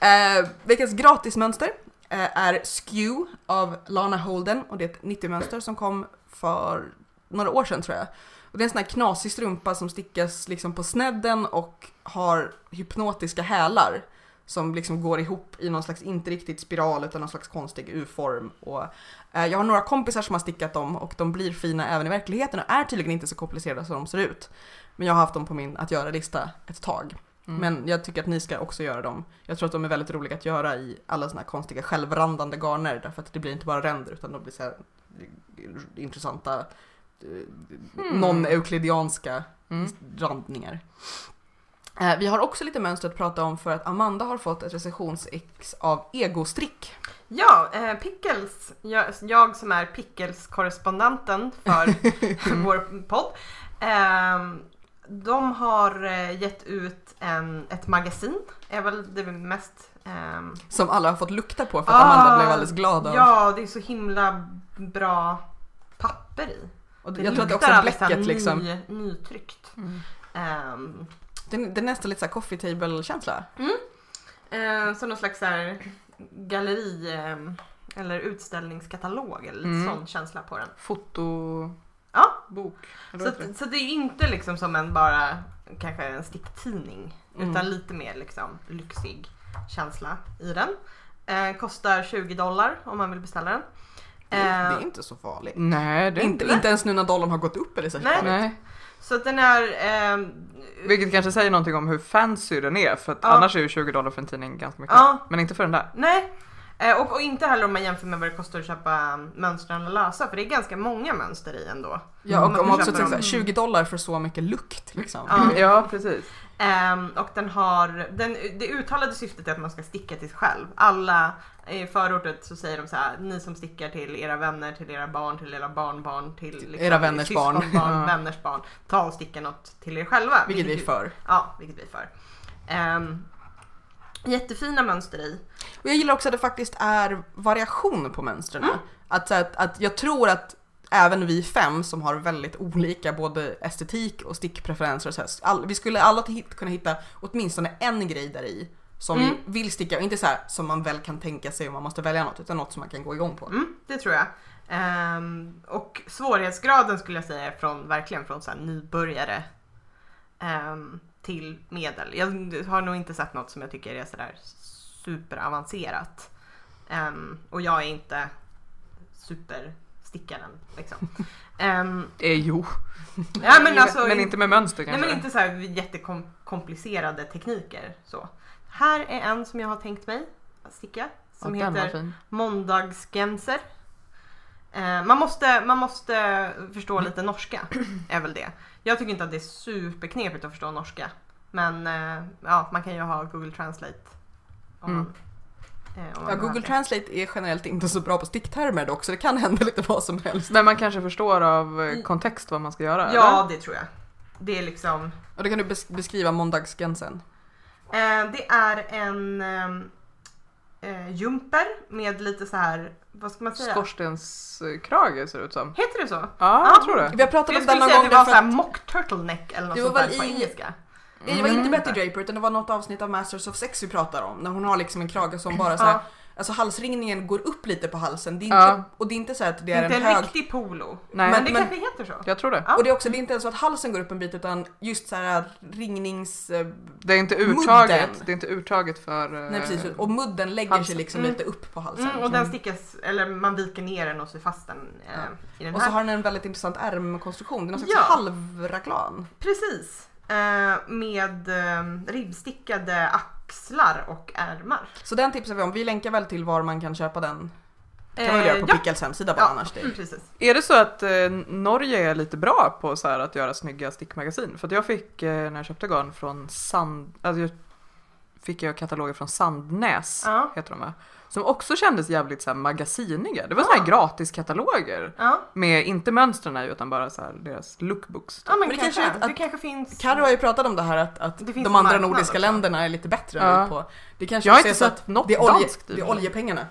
S1: Eh, veckans gratismönster eh, är Skew av Lana Holden och det är ett 90-mönster som kom för några år sedan tror jag. Och det är en sån här knasig strumpa som stickas liksom på snedden och har hypnotiska hälar som liksom går ihop i någon slags, inte riktigt spiral utan någon slags konstig U-form. Och, eh, jag har några kompisar som har stickat dem och de blir fina även i verkligheten och är tydligen inte så komplicerade som de ser ut. Men jag har haft dem på min att göra-lista ett tag.
S4: Mm.
S1: Men jag tycker att ni ska också göra dem. Jag tror att de är väldigt roliga att göra i alla såna här konstiga självrandande garner därför att det blir inte bara ränder utan de blir så här eh, intressanta eh,
S4: Hmm.
S1: non-euklidianska
S4: Mm.
S1: randningar. Eh, Vi har också lite mönster att prata om för att Amanda har fått ett recensionsex av egostrick.
S2: Ja, eh, Pickles, jag, jag som är Pickles-korrespondenten för vår podd. ehm, de har eh, gett ut en, ett magasin, är väl det mest... ehm,
S1: Som alla har fått lukta på för att Amanda
S2: Ah,
S1: blev alldeles glad av.
S2: ja, det är så himla bra papper i.
S1: och
S2: Det
S1: jag tror att det
S2: luktar
S1: också är
S2: alldeles så här
S1: bläcket liksom.
S2: Ny, nytryckt.
S4: Mm.
S2: Ehm,
S1: Det, är- det är nästan lite såhär coffee table-känsla.
S2: Eh, som någon slags så här galleri eh, eller utställningskatalog eller lite
S4: Mm.
S2: sån känsla på den.
S4: Fotobok.
S2: Ja.
S4: eller
S2: Så,
S4: vad heter det?
S2: att, så det är ju inte liksom som en bara kanske en sticktidning
S1: Mm.
S2: utan lite mer liksom lyxig känsla i den. Eh, kostar 20 dollar om man vill beställa den.
S1: Det är-
S2: Eh,
S1: det är inte så farligt.
S4: Nej, det är
S1: Inte,
S4: inte.
S1: inte ens nu när dollarn har gått upp eller så.
S2: Nej.
S4: Nej.
S2: Så att den är... Eh,
S4: Vilket kanske säger någonting om hur fancy den är för att
S2: Ja.
S4: annars är ju 20 dollar för en tidning ganska mycket.
S2: Ja.
S4: Men inte för den där.
S2: Nej. Eh, Och, och inte heller om man jämför med vad det kostar att köpa mönstren och lösa för det är ganska många mönster i ändå.
S1: Ja, och
S2: Mm.
S1: om man också
S2: Köper
S1: tänker
S2: dem.
S1: såhär, 20 dollar för så mycket lukt liksom.
S2: Ja.
S4: Ja, precis.
S2: Ehm, och den har, den, det uttalade syftet är att man ska sticka till sig själv. Alla i förordet så säger de så här, ni som stickar till era vänner, till era barn, till era barnbarn, till liksom,
S1: era vänners barn."
S2: syskonbarn,
S4: Ja.
S2: vänners barn. Ta och sticka något till er själva.
S1: Vilket vi är för.
S2: Ja, vilket vi är för. Ehm, jättefina mönster i.
S1: Och jag gillar också att det faktiskt är variation på mönstren. Att, så här, att, att jag tror att även vi fem som har väldigt olika både estetik och stickpreferenser och så här, all, vi skulle alla hit, kunna hitta åtminstone en grej där i som
S2: Mm.
S1: vi vill sticka och inte så här som man väl kan tänka sig om man måste välja något utan något som man kan gå igång på.
S2: Mm, det tror jag. Ehm, och svårighetsgraden skulle jag säga är från, verkligen från så här nybörjare ehm, till medel. Jag har nog inte sett något som jag tycker är sådär superavancerat. Ehm, och jag är inte superstickaren liksom. Ehm,
S4: Eh, jo.
S2: ja, men, alltså,
S4: men inte med mönster
S2: Nej
S4: kanske.
S2: men inte så här jättekomplicerade tekniker så. Här är en som jag har tänkt mig att sticka. Som
S4: Ja, den alltså. var
S2: heter
S4: fin.
S2: måndagsgenser. Eh, man, måste, man måste
S1: Mm.
S2: förstå lite norska, är väl det. Jag tycker inte att det är superknepigt att förstå norska. Men eh, ja, man kan ju ha Google Translate. Om
S4: Mm.
S2: man, eh, om man
S1: Ja,
S2: behöver
S1: Google
S2: det.
S1: Translate är generellt inte så bra på sticktermer dock så det kan hända lite vad som helst.
S4: Men man kanske förstår av eh,
S2: Mm.
S4: kontext vad man ska göra?
S2: Ja, det tror jag. Det är liksom...
S1: Och då kan du bes- beskriva måndagsgränsen.
S2: Eh, det är en ehm, eh, jumper med lite så här, vad ska man
S4: eller?
S2: säga?
S4: Skorstenskrage ser det ut som.
S2: Heter det så?
S4: Ja,
S2: Ja.
S4: jag tror det.
S1: Vi har pratat
S2: Jag
S1: om den
S2: skulle
S1: någon
S2: säga att
S1: gång
S2: det var
S1: därför
S2: så här
S1: att
S2: mock turtleneck eller något
S1: Det var
S2: sånt där
S1: väl
S2: på
S1: i-
S2: engelska.
S1: Nej, det var inte
S2: Mm.
S1: Betty Draper utan det var något avsnitt av Masters of Sex vi pratar om. När hon har liksom en krage som bara så här,
S2: Ja,
S1: alltså halsringningen går upp lite på halsen. Det är inte,
S4: Ja.
S1: Och det är inte så här att det
S2: det
S1: är
S2: är inte
S1: en
S2: en
S1: hög...
S2: riktig polo.
S4: Nej,
S2: Men
S1: Men-
S2: det
S1: men-
S2: kanske heter så.
S4: jag tror det.
S2: Ja.
S1: Och det är också det är inte ens så att halsen går upp en bit utan just så här äh, ringnings... eh,
S4: Det är inte uttaget,
S1: Mudden.
S4: det är inte uttaget för... eh,
S1: Nej precis, och mudden lägger sig
S4: halsen.
S1: liksom
S2: Mm.
S1: lite upp på halsen. liksom.
S2: Mm, och den stickas, eller man viker ner den och syr fast den eh,
S1: Ja.
S2: i den
S1: Och så
S2: här.
S1: har den en väldigt intressant ärmkonstruktion, det är någon slags
S2: Ja.
S1: halvraglan.
S2: Precis. Eh, med eh, ribbstickade axlar och ärmar.
S1: Så den tipsar vi om, vi länkar väl till var man kan köpa den.
S2: Eh,
S1: kan man väl göra på
S2: ja,
S1: Pickles hemsida bara
S2: Ja.
S1: annars. Det.
S2: precis.
S4: Är det så att eh, Norge är lite bra på så här, att göra snygga stickmagasin? För att jag fick, eh, när jag köpte garn från Sand... Alltså jag fick jag kataloger från Sandnäs,
S2: Ja.
S4: heter de va? Som också kändes jävligt så här, magasiniga. Det var så här
S2: Ja.
S4: gratiskataloger.
S2: Ja.
S4: Med, inte mönstren i, utan bara så här, deras lookbooks.
S2: Ja men,
S1: Men det
S2: kanske,
S1: kanske-
S2: det kanske finns...
S1: Carro har ju pratat om det här att, att
S2: Mm. Det finns en
S1: de andra
S2: marknad
S1: nordiska
S2: också.
S1: länderna är lite bättre
S4: Ja.
S1: än vi på. Det kanske
S4: Jag har
S1: också
S4: inte
S1: är så
S4: sett något
S1: det är, olje,
S4: danskt.
S1: det är oljepengarna.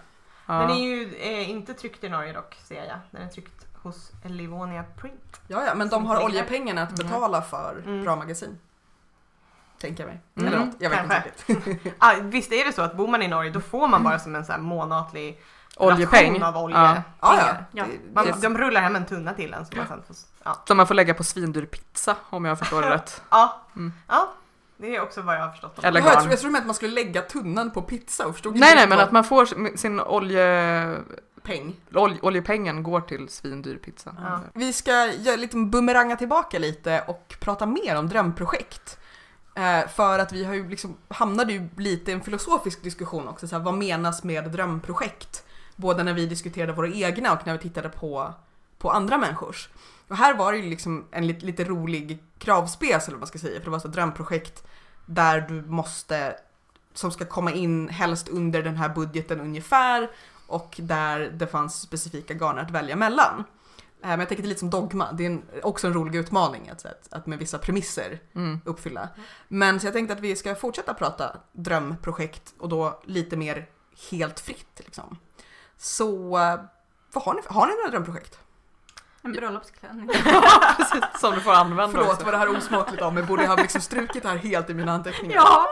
S4: Ja.
S2: Den är ju eh, inte tryckt i Norge dock, ser jag. Den är tryckt hos Livonia Print.
S1: Ja, ja, men de har
S2: Pengar.
S1: oljepengarna att betala för
S2: Mm.
S1: bra magasin. Tänker jag mig.
S4: Mm.
S1: Eller något, jag vet inte
S2: Kanske.
S1: riktigt.
S2: Ah, visst är det så att bor man i Norge då får man bara som en så här månatlig
S4: Oljepeng.
S2: ration av olja.
S4: Ja.
S1: Ja, ja.
S3: Ja.
S1: Det-
S2: Man,
S1: det-
S2: De rullar hem en tunna till en som man sen får... Ja,
S4: Som man får lägga på svindyr pizza om jag förstår det rätt.
S2: ja.
S4: Mm.
S2: ja. det är också vad jag har förstått. om
S4: Eller
S1: Jaha, jag,
S4: garn.
S1: tror, jag tror att man skulle lägga tunnan på pizza och förstod inte
S4: Nej nej
S1: riktigt
S4: men
S1: vad-
S4: att man får sin- sin olje,
S1: Peng.
S4: olj, oljepengen går till svindyr pizza.
S2: Ja.
S1: Vi ska göra lite bumeranga tillbaka lite och prata mer om drömprojekt. Eh, för att vi har ju liksom, hamnade ju lite i en filosofisk diskussion också, så här, vad menas med drömprojekt? Både när vi diskuterade våra egna och när vi tittade på, på andra människors. Och här var det ju liksom en lite, lite rolig kravspecial eller vad man ska säga, för det var så här, drömprojekt där du måste, som ska komma in helst under den här budgeten ungefär och där det fanns specifika garner att välja mellan. Eh, Men jag tänker det är lite som dogma, det är en, också en rolig utmaning att, att, att med vissa premisser
S4: Mm.
S1: uppfylla. Men så jag tänkte att vi ska fortsätta prata drömprojekt och då lite mer helt fritt liksom. Så eh, vad har, ni, har ni några drömprojekt?
S3: En bröllopsklänning.
S4: Precis, som du får använda
S1: Förlåt
S4: också.
S1: vad det här är osmakligt av mig, borde jag ha liksom strukit det här helt i mina anteckningar?
S3: ja.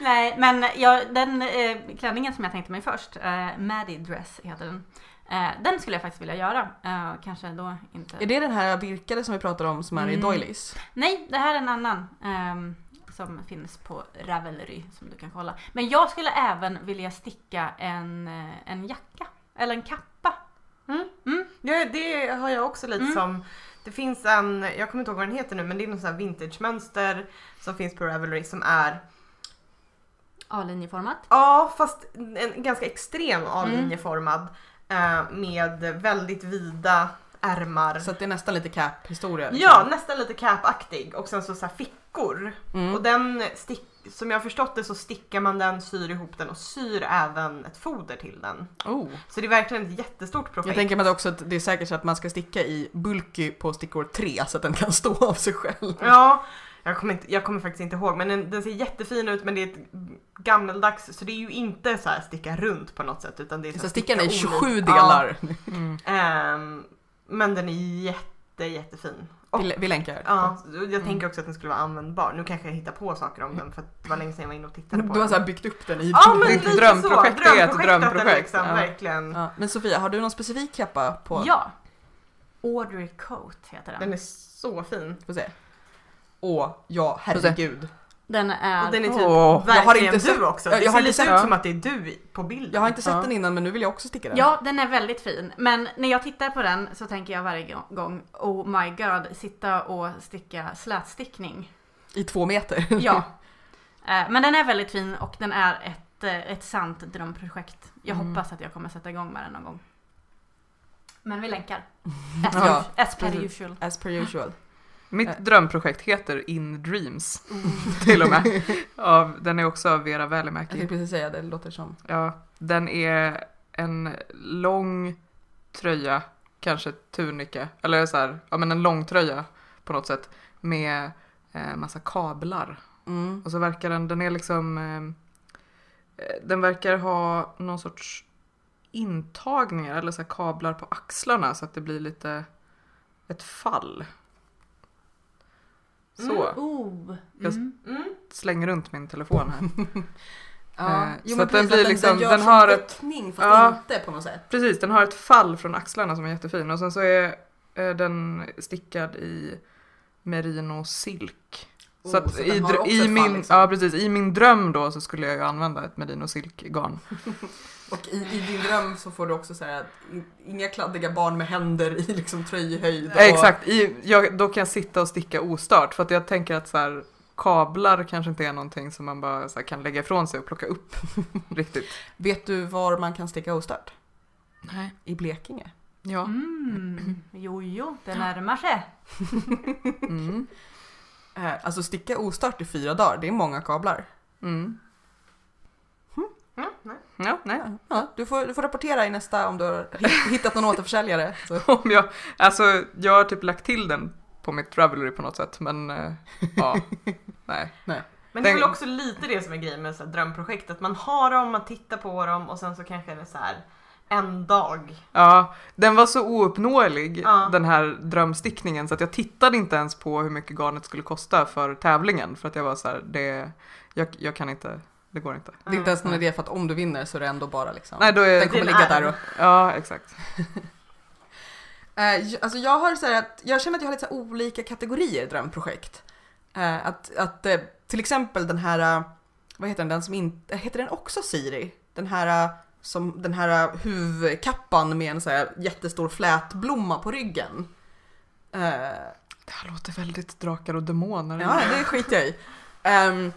S3: Nej, men jag, den eh, klänningen som jag tänkte mig först, eh, Maddie Dress heter den. Eh, den skulle jag faktiskt vilja göra. Eh, kanske då inte.
S1: Är det den här virkade som vi pratade om som är i
S3: Mm.
S1: Doilies?
S3: Nej, det här är en annan ehm, som finns på Ravelry som du kan kolla. Men jag skulle även vilja sticka en, eh, en jacka eller en kappa.
S2: Ja, det har jag också lite
S3: Mm.
S2: som. Det finns en, jag kommer inte ihåg vad den heter nu, men det är någon sån här vintage-mönster som finns på Ravelry som är,
S3: A-linjeformat.
S2: ja fast en ganska extrem A-linjeformad eh, med väldigt vida ärmar.
S1: Så att det är nästan lite cap-historia? liksom.
S2: Ja, nästan lite cap-aktig och sen så, så här fickor.
S1: Mm.
S2: Och den, stick, som jag har förstått det så stickar man den, syr ihop den och syr även ett foder till den.
S1: Oh.
S2: Så det är verkligen ett jättestort
S1: Jag
S2: projekt.
S1: tänker mig också att det är säkert så att man ska sticka i bulky på stickor 3 så att den kan stå av sig själv.
S2: Ja, jag kommer, inte, jag kommer faktiskt inte ihåg men den, den ser jättefin ut men det är ett gammeldags så det är ju inte så här sticka runt på något sätt utan det är
S1: Så
S2: här
S1: stickan är i
S2: sticka
S1: 27
S2: olika.
S1: delar.
S4: Mm.
S2: Ja, ehm, men den är jätte, jättefin. Och,
S1: Vi, vi länkar.
S2: ja, jag
S1: Mm.
S2: tänker också att den skulle vara användbar. Nu kanske jag hittar på saker om den för att det var länge sedan jag var inne och tittade på
S1: Du har
S2: den.
S1: så här byggt upp den i
S2: Ja men
S4: Det är
S2: lite
S4: inte
S2: så,
S4: drömprojekt, det är ett
S2: drömprojektet
S4: drömprojekt.
S2: Liksom,
S4: Ja.
S2: Verkligen.
S1: Ja, men Sofia, har du någon specifik kappa på?
S3: Ja. Audrey Coat heter den.
S2: Den är så fin.
S1: Får se. Åh, ja, herregud.
S3: Den är...
S2: Och den är typ
S4: Åh,
S1: jag har
S2: verkligen
S1: inte sett-
S2: du också.
S1: jag-
S2: Det
S1: jag har
S2: ser
S1: inte
S2: lite
S1: sett-
S2: ut som att det är du i- på bilden.
S1: Jag har inte sett
S4: Ja.
S1: den innan men nu vill jag också sticka den.
S3: Ja, den är väldigt fin. Men när jag tittar på den så tänker jag varje gång, oh my god, sitta och sticka slätstickning.
S1: I två meter.
S3: Ja. Eh, Men den är väldigt fin och den är ett, eh, ett sant drömprojekt. Jag
S4: Mm.
S3: hoppas att jag kommer sätta igång med den någon gång. Men vi länkar. As,
S1: Ja,
S3: as per
S1: precis.
S3: usual.
S1: As per usual.
S2: Äh.
S1: Eh.
S4: Mitt drömprojekt heter In Dreams till och med. Av, den är också av Vera
S1: Jag
S4: Välimäki.
S1: tänkte precis säga det, det låter som.
S4: Ja, den är en lång tröja, kanske tunika, eller så här, ja men en lång tröja på något sätt med eh, massa kablar.
S1: Mm.
S4: Och så verkar den, den är liksom, eh, eh, den verkar ha någon sorts intagningar eller så här kablar på axlarna så att det blir lite ett fall. Så,
S3: Oh.
S4: Jag-
S3: Mm.
S2: Mm.
S4: släng runt min telefon här.
S1: Ja.
S4: Eh,
S1: Jo,
S4: så
S1: men
S4: att den
S1: precis,
S4: blir liksom-
S1: gör
S4: den
S1: som
S4: har ett-
S1: teckning fast
S4: Ja.
S1: inte på något sätt.
S4: Precis, den har ett fall från axlarna som är jättefin och sen så är eh, den stickad i merino silk.
S1: Oh,
S4: så att
S1: så
S4: i,
S1: den har
S4: dr-
S1: också
S4: i,
S1: ett fall,
S4: min,
S1: liksom.
S4: ja, precis, i min dröm då så skulle jag ju använda ett merino silkgarn.
S1: Och i, i din dröm så får du också säga att in- inga kladdiga barn med händer i liksom tröjhöjd. och-
S4: Eh, Exakt, i, jag, då kan jag sitta och sticka ostört för att jag tänker att så här, kablar kanske inte är någonting som man bara så här, kan lägga ifrån sig och plocka upp riktigt.
S1: Vet du var man kan sticka ostört?
S4: Nej.
S1: I Blekinge.
S4: Ja.
S3: Mm. Jo, jo, det närmar sig.
S4: Mm.
S1: Eh, alltså sticka ostört i fyra dagar, det är många kablar.
S4: Mm.
S2: Mm. nej.
S4: Ja, nej.
S1: Ja, du, får, du får rapportera i nästa om du har hitt- hittat någon återförsäljare. Så.
S4: om jag, alltså jag har typ lagt till den på mitt Ravelry på något sätt men eh, ja, nej.
S2: Men det är
S4: Den-
S2: väl också lite det som är grejen med så här drömprojekt. Att man har dem, man tittar på dem och sen så kanske det är så här en dag.
S4: Ja, den var så ouppnåelig
S2: Ja.
S4: den här drömstickningen så att jag tittade inte ens på hur mycket garnet skulle kosta för tävlingen för att jag var så här, det, jag, jag kan inte, det går inte.
S1: Det är inte ens någon idé för att om du vinner så är det ändå bara liksom.
S4: Nej, då
S1: den
S4: är,
S1: kommer
S2: Din
S1: ligga där
S2: arm.
S1: och...
S4: ja exakt.
S1: Eh, j- alltså jag, har så här att, jag känner att jag har lite så här olika kategorier drömprojekt. Eh, att, att eh, till exempel den här, eh, vad heter den, den som inte, heter den också Siri? Den här, eh, som, den här eh, huvudkappan med en så här jättestor flätblomma på ryggen. Eh,
S4: Det här låter väldigt drakar och demoner.
S1: Ja, det skiter jag i. Ehm,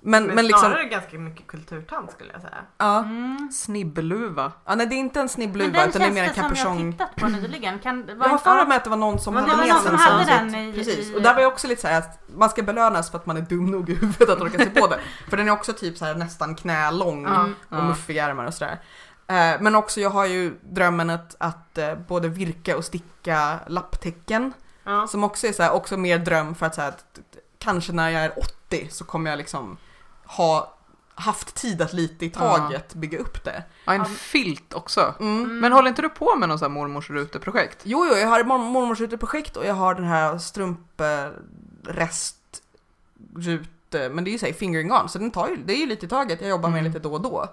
S1: Men, men liksom,
S2: snarare ganska mycket kulturtant skulle jag säga.
S1: ja.
S3: Mm.
S4: Snibbluva.
S1: ja. Nej det är inte en
S3: Men
S1: snibbluva
S3: den
S1: utan det är mer en
S3: tjänsten som jag
S1: kapuschong.
S3: tittat på nyligen, kan det
S1: Jag
S3: vara
S1: har för mig att det var någon som
S2: Men
S1: hade
S2: det var
S1: med
S2: någon
S1: sig
S2: som
S1: en sån.
S2: hade
S1: så att-
S3: den i-
S1: Precis,
S3: i-
S1: och där var jag också lite såhär att man ska belönas för att man är dum nog i huvudet att orka se på den. För den är också typ så här nästan knälång
S3: Mm.
S1: och muffiga ärmar och sådär. Eh, Men också jag har ju drömmen att, att eh, både virka och sticka lapptäcken.
S2: Ja.
S1: Som också är så här, också mer dröm för att, så här, att att- kanske när jag är 80 så kommer jag liksom ha haft tid att lite i taget bygga upp det.
S4: Ja, en
S3: Ja.
S4: filt också.
S1: Mm.
S4: Men håller inte du på med någon sån här mormors ruteprojekt?
S1: Jo, jo, jag har mor- mormors ruteprojekt och jag har den här strumprest rute, men det är ju såhär fingering on, så den tar ju, det är ju lite i taget, jag jobbar med
S4: Mm.
S1: lite då och då.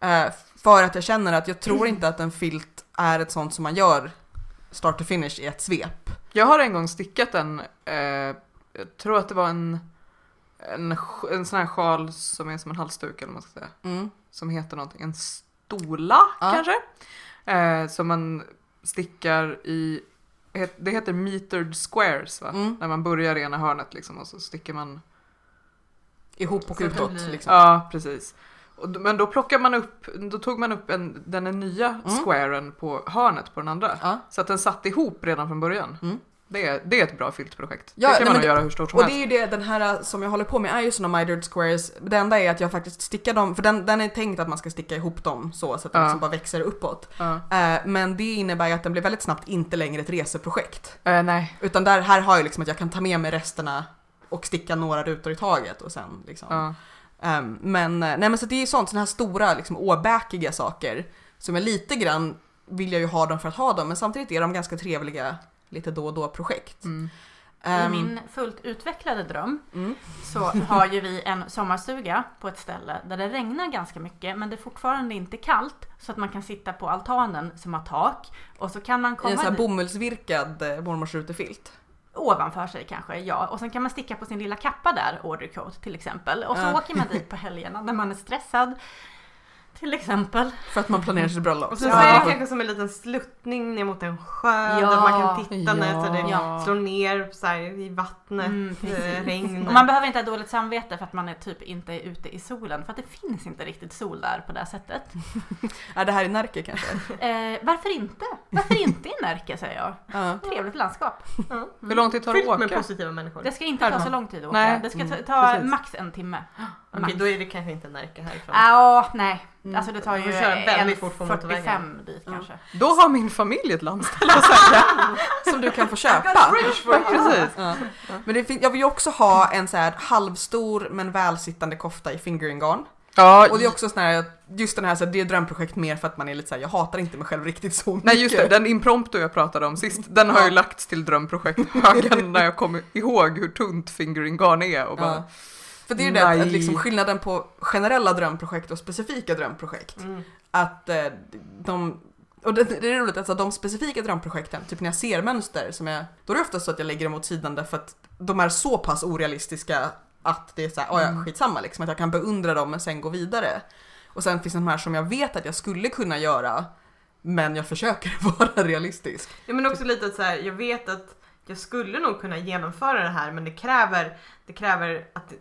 S1: Eh, för att jag känner att jag tror inte att en filt är ett sånt som man gör start to finish i ett svep.
S4: Jag har en gång stickat en, eh, jag tror att det var en, en, sj- en sån här sjal som är som en halsduk eller vad man ska säga.
S1: Mm.
S4: som heter någonting, en stola
S1: Ja.
S4: kanske? Eh, som man stickar i, het- det heter metered squares va?
S1: Mm.
S4: När man börjar i ena hörnet liksom och så stickar man,
S1: Ihop och
S2: Så att det
S1: utåt
S2: blir-
S1: liksom.
S4: ja precis. Och, d- men då plockar man upp, då tog man upp en, den nya
S1: Mm.
S4: squaren på hörnet på den andra.
S1: Ja.
S4: Så att den satt ihop redan från början.
S1: Mm.
S4: Det, är, det är ett bra filtprojekt.
S1: Ja,
S4: det
S1: nej,
S4: kan man
S1: men
S4: nog göra hur stort som
S1: Och det
S4: helst.
S1: är ju det, den här som jag håller på med är ju såna mitered squares. Det enda är att jag faktiskt stickar dem, för den, den är tänkt att man ska sticka ihop dem så, så att den
S4: Ja.
S1: liksom bara växer uppåt.
S4: Ja.
S1: Eh, men det innebär ju att den blir väldigt snabbt inte längre ett reseprojekt.
S4: Eh, nej.
S1: Utan där, här har jag liksom att jag kan ta med mig resterna och sticka några rutor i taget och sen liksom.
S4: Ja.
S1: Ehm, men, eh, nej men så det är ju sånt, såna här stora liksom åbäkiga saker som är lite grann vill jag ju ha dem för att ha dem, men samtidigt är de ganska trevliga lite då och då projekt.
S4: Mm.
S3: I
S1: Ehm,
S3: min fullt utvecklade dröm
S1: mm.
S3: så har ju vi en sommarstuga på ett ställe där det regnar ganska mycket men det är fortfarande inte kallt så att man kan sitta på altanen som har tak och så kan man
S1: I en
S3: komma
S1: sån här
S3: dit-
S1: bomullsvirkad eh, mormors rutefilt.
S3: ovanför sig kanske, ja. Och sen kan man sticka på sin lilla kappa där, order coat till exempel. Och så
S1: Ja.
S3: åker man dit på helgerna när man är stressad. Till exempel.
S1: För att man planerar sitt bröllop.
S2: Och så
S1: Ja.
S2: ser det kanske som en liten sluttning ner mot en sjö
S3: Ja.
S2: där man kan titta när så det
S3: Ja.
S2: slår ner så här, i vattnet,
S3: Mm, precis.
S2: eh, regn.
S3: Och man behöver inte ha dåligt samvete för att man är typ inte är ute i solen. För att det finns inte riktigt sol där på det sättet.
S1: Är det här i Närke kanske?
S3: Eh, varför inte? Varför inte i Närke säger jag?
S1: Ja.
S3: Trevligt landskap.
S2: Ja.
S4: Hur lång tid tar det
S2: Fyllt
S4: att
S2: med
S4: åka?
S2: positiva människor.
S3: Det ska inte ta så lång tid att åka.
S4: Nej,
S3: Det ska ta,
S4: mm,
S3: ta
S4: precis.
S3: max en timme.
S2: Okej,
S3: Max.
S2: då är det kanske inte Närke härifrån.
S3: Ja, nej. Alltså det tar
S2: Man
S3: ju
S2: får köra väldigt
S3: en
S2: fort på
S3: 45
S2: motorvägen.
S3: dit kanske.
S4: Då har min familj ett landställe att sälja.
S1: Som du kan få köpa.
S4: Precis.
S1: Ja. Typ. Men det fin- jag vill ju också ha en så här halvstor men välsittande kofta i fingering garn.
S4: Ja,
S1: Och det är också sån här, just den här, så här, det är drömprojekt mer för att man är lite så här, jag hatar inte mig själv riktigt så mycket.
S4: Nej just det, den impromptu jag pratade om sist, den har ju
S1: Ja.
S4: lagts till drömprojekthögen när jag kommer ihåg hur tunt fingering garn är och bara,
S1: Ja. För det är ju det att- att
S4: Nej.
S1: liksom skillnaden på generella drömprojekt och specifika drömprojekt.
S2: Mm.
S1: Att eh, de, och det, det är roligt, alltså de specifika drömprojekten, typ när jag ser mönster, som jag, då är det ofta så att jag lägger dem åt sidan därför att de är så pass orealistiska att det är såhär, oh ja,
S4: Mm.
S1: skitsamma liksom, att jag kan beundra dem men sen gå vidare. Och sen finns det de här som jag vet att jag skulle kunna göra, men jag försöker vara realistisk.
S2: Ja, men också lite att så här, jag vet att jag skulle nog kunna genomföra det här men det kräver, det kräver att det,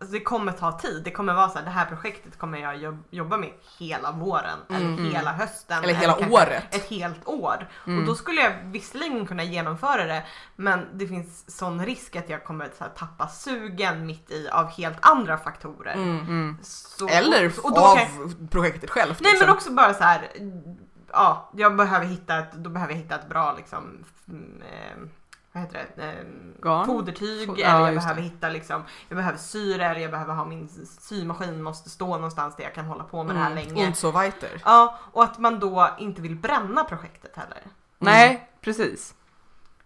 S2: alltså det kommer ta tid. Det kommer vara så här, det här projektet kommer jag jobb, jobba med hela våren
S1: Mm.
S2: eller hela hösten.
S1: Eller hela
S2: kanske
S1: året.
S2: Ett helt år.
S4: Mm.
S2: Och då skulle jag visserligen kunna genomföra det men det finns sån risk att jag kommer så här, tappa sugen mitt i av helt andra faktorer.
S1: Mm.
S4: mm.
S2: Så,
S1: Eller
S2: och, och då
S1: av
S2: kan jag,
S1: projektet självt.
S2: Nej
S1: liksom.
S2: men också bara så här. Ja, jag behöver hitta ett, då behöver jag hitta ett bra liksom, mm, eh, vad heter det, eh,
S4: Garn?
S2: fodertyg
S4: Fod-
S2: eller
S4: ja,
S2: jag
S4: just
S2: behöver hitta liksom, jag behöver syre eller jag behöver ha min symaskin måste stå någonstans där jag kan hålla på med det här
S1: Mm.
S2: länge.
S1: Und so weiter.
S2: Ja, och att man då inte vill bränna projektet heller.
S4: Nej, precis.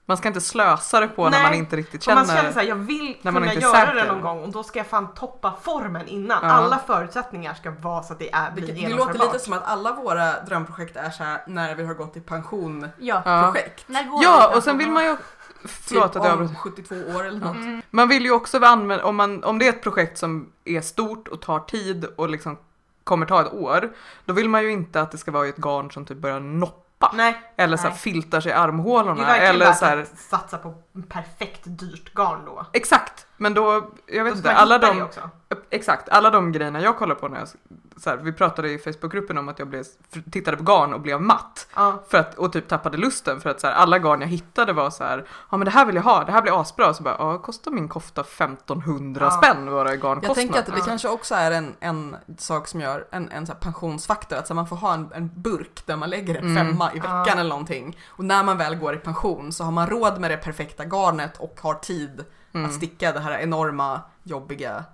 S4: Man ska inte slösa det på när
S2: Nej.
S4: man inte riktigt
S2: Känner,
S4: känner.
S2: man känner såhär, jag vill
S4: när man
S2: kunna
S4: inte är
S2: göra det
S4: säker.
S2: någon gång och då ska jag fan toppa formen innan.
S4: Ja.
S2: Alla förutsättningar ska vara så att det är, blir
S1: Det, det
S2: genomförbart.
S1: låter lite som att alla våra drömprojekt är så här när vi har gått i pension
S3: Ja.
S4: ja.
S1: projekt. Typ
S3: När går
S4: ja,
S3: det?
S4: och sen vill man ju... Förlåt
S2: Typ
S4: att jag
S1: om
S4: avbryter.
S1: 72 år eller något.
S3: Mm.
S4: Man vill ju också använda, om, man, om det är ett projekt som är stort och tar tid och liksom kommer ta ett år, då vill man ju inte att det ska vara ett garn som typ börjar noppa.
S2: Nej,
S4: Eller så här,
S3: Nej.
S4: filtar sig i
S2: det är
S4: armhålorna.
S2: verkligen
S4: Eller
S2: värt
S4: så här,
S2: att satsa på perfekt dyrt garn då.
S4: Exakt, men då, jag vet
S2: Då ska
S4: inte,
S2: man
S4: alla
S2: hitta
S4: de
S2: det också.
S4: Exakt, alla de grejerna jag kollar på när jag, så här, vi pratade i Facebookgruppen om att jag blev, tittade på garn och blev matt.
S2: Ja.
S4: För att, och typ tappade lusten för att så här, alla garn jag hittade var så här, ja men det här vill jag ha, det här blir asbra. Så bara, ja kostar min kofta 1500
S2: Ja.
S4: spänn våra garn
S1: Jag tänker att det
S2: Ja.
S1: kanske också är en, en sak som gör en, en så här pensionsfaktor, att så här, man får ha en, en burk där man lägger en
S4: Mm.
S1: femma i veckan
S2: Ja.
S1: eller någonting. Och när man väl går i pension så har man råd med det perfekta garnet och har tid
S4: Mm.
S1: att sticka det här enorma, jobbiga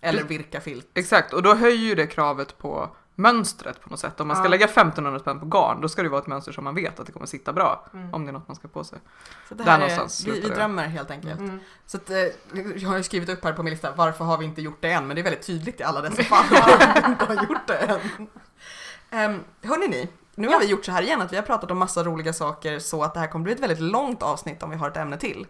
S1: eller virka filt.
S4: Exakt, och då höjer ju det kravet på mönstret på något sätt. Om man ska
S2: Ja.
S4: lägga 1500 spänn på garn, då ska det vara ett mönster som man vet att det kommer sitta bra.
S2: Mm.
S4: Om det är något man ska ha på sig.
S1: Så det
S4: Där
S1: här
S4: någonstans
S1: är, vi, vi
S4: slutar det.
S1: drömmer helt enkelt.
S2: Mm.
S1: Så att, eh, jag har ju skrivit upp här på min lista, varför har vi inte gjort det än? Men det är väldigt tydligt i alla dessa fall att vi inte har gjort det än. Um, hörni ni, nu har vi gjort så här igen att vi har pratat om massa roliga saker så att det här kommer bli ett väldigt långt avsnitt om vi har ett ämne till.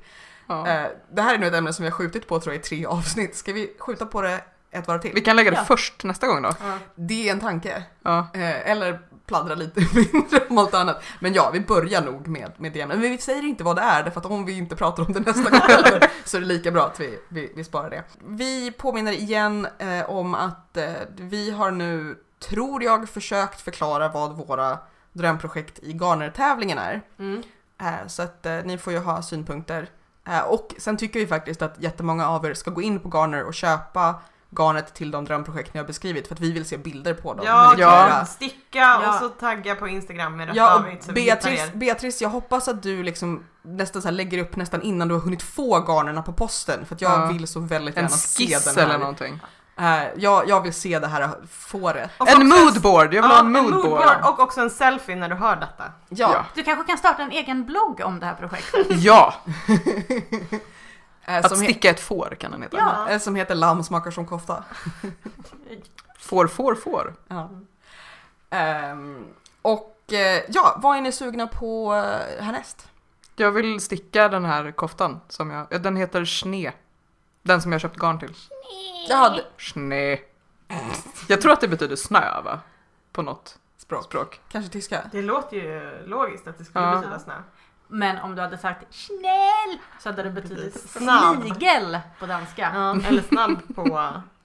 S4: Ja.
S1: Eh, det här är nu ett ämne som vi har skjutit på tror jag i tre avsnitt. Ska vi skjuta på det ett varv till?
S4: Vi kan lägga det
S3: Ja.
S4: först nästa gång då.
S2: Ja.
S1: Det är en tanke.
S4: Ja.
S1: Eh, eller pladdra lite mindre om allt annat. Men ja, vi börjar nog med, med det ämnet. Men vi säger inte vad det är, därför att om vi inte pratar om det nästa gång heller, så är det lika bra att vi, vi, vi sparar det. Vi påminner igen eh, om att eh, vi har nu, tror jag, försökt förklara vad våra drömprojekt i Garner-tävlingen är.
S2: Mm.
S1: Eh, Så att eh, ni får ju ha synpunkter. Eh, Och sen tycker vi faktiskt att jättemånga av er ska gå in på Garner och köpa garnet till de drömprojekt ni har beskrivit för att vi vill se bilder på dem.
S2: Ja,
S1: Eller
S4: Ja.
S1: göra-
S2: sticka
S3: Ja.
S2: och så tagga på Instagram med rätt
S1: Ja,
S2: avigt så
S1: och
S2: vi hittar
S1: Beatrice,
S2: er.
S1: Beatrice, jag hoppas att du liksom nästan så här lägger upp nästan innan du har hunnit få garnerna på posten för att jag
S4: Ja.
S1: vill så väldigt
S4: En
S1: gärna se
S4: skiss
S1: den
S4: eller
S1: här.
S4: någonting.
S1: Eh, jag, jag vill se det här fåret.
S2: Och
S4: En
S2: också-
S4: moodboard, jag vill ha en moodboard.
S2: och också en selfie när du hör detta.
S1: Ja.
S4: Ja.
S3: Du kanske kan starta en egen blogg om det här projektet?
S4: Ja!
S1: Eh,
S4: Att
S1: som, he-
S4: sticka ett får kan den heta.
S3: Ja.
S1: eh, som heter Lamm smakar som kofta.
S4: Får, får, får.
S1: Ja. Ehm, och eh, ja, vad är ni sugna på eh, härnäst?
S4: Jag vill sticka den här koftan som jag, ja, den heter Schne. Den som jag köpt garn till.
S1: Jag hade
S4: Schne. Jag tror att det betyder snö va? På något
S1: språk,
S4: språk.
S1: kanske tyska.
S2: Det låter ju logiskt att det skulle
S4: Ja.
S2: betyda snö.
S3: Men om du hade sagt snäll så hade det betydit
S2: Snabb.
S3: snigel på danska.
S2: Eller snabb på,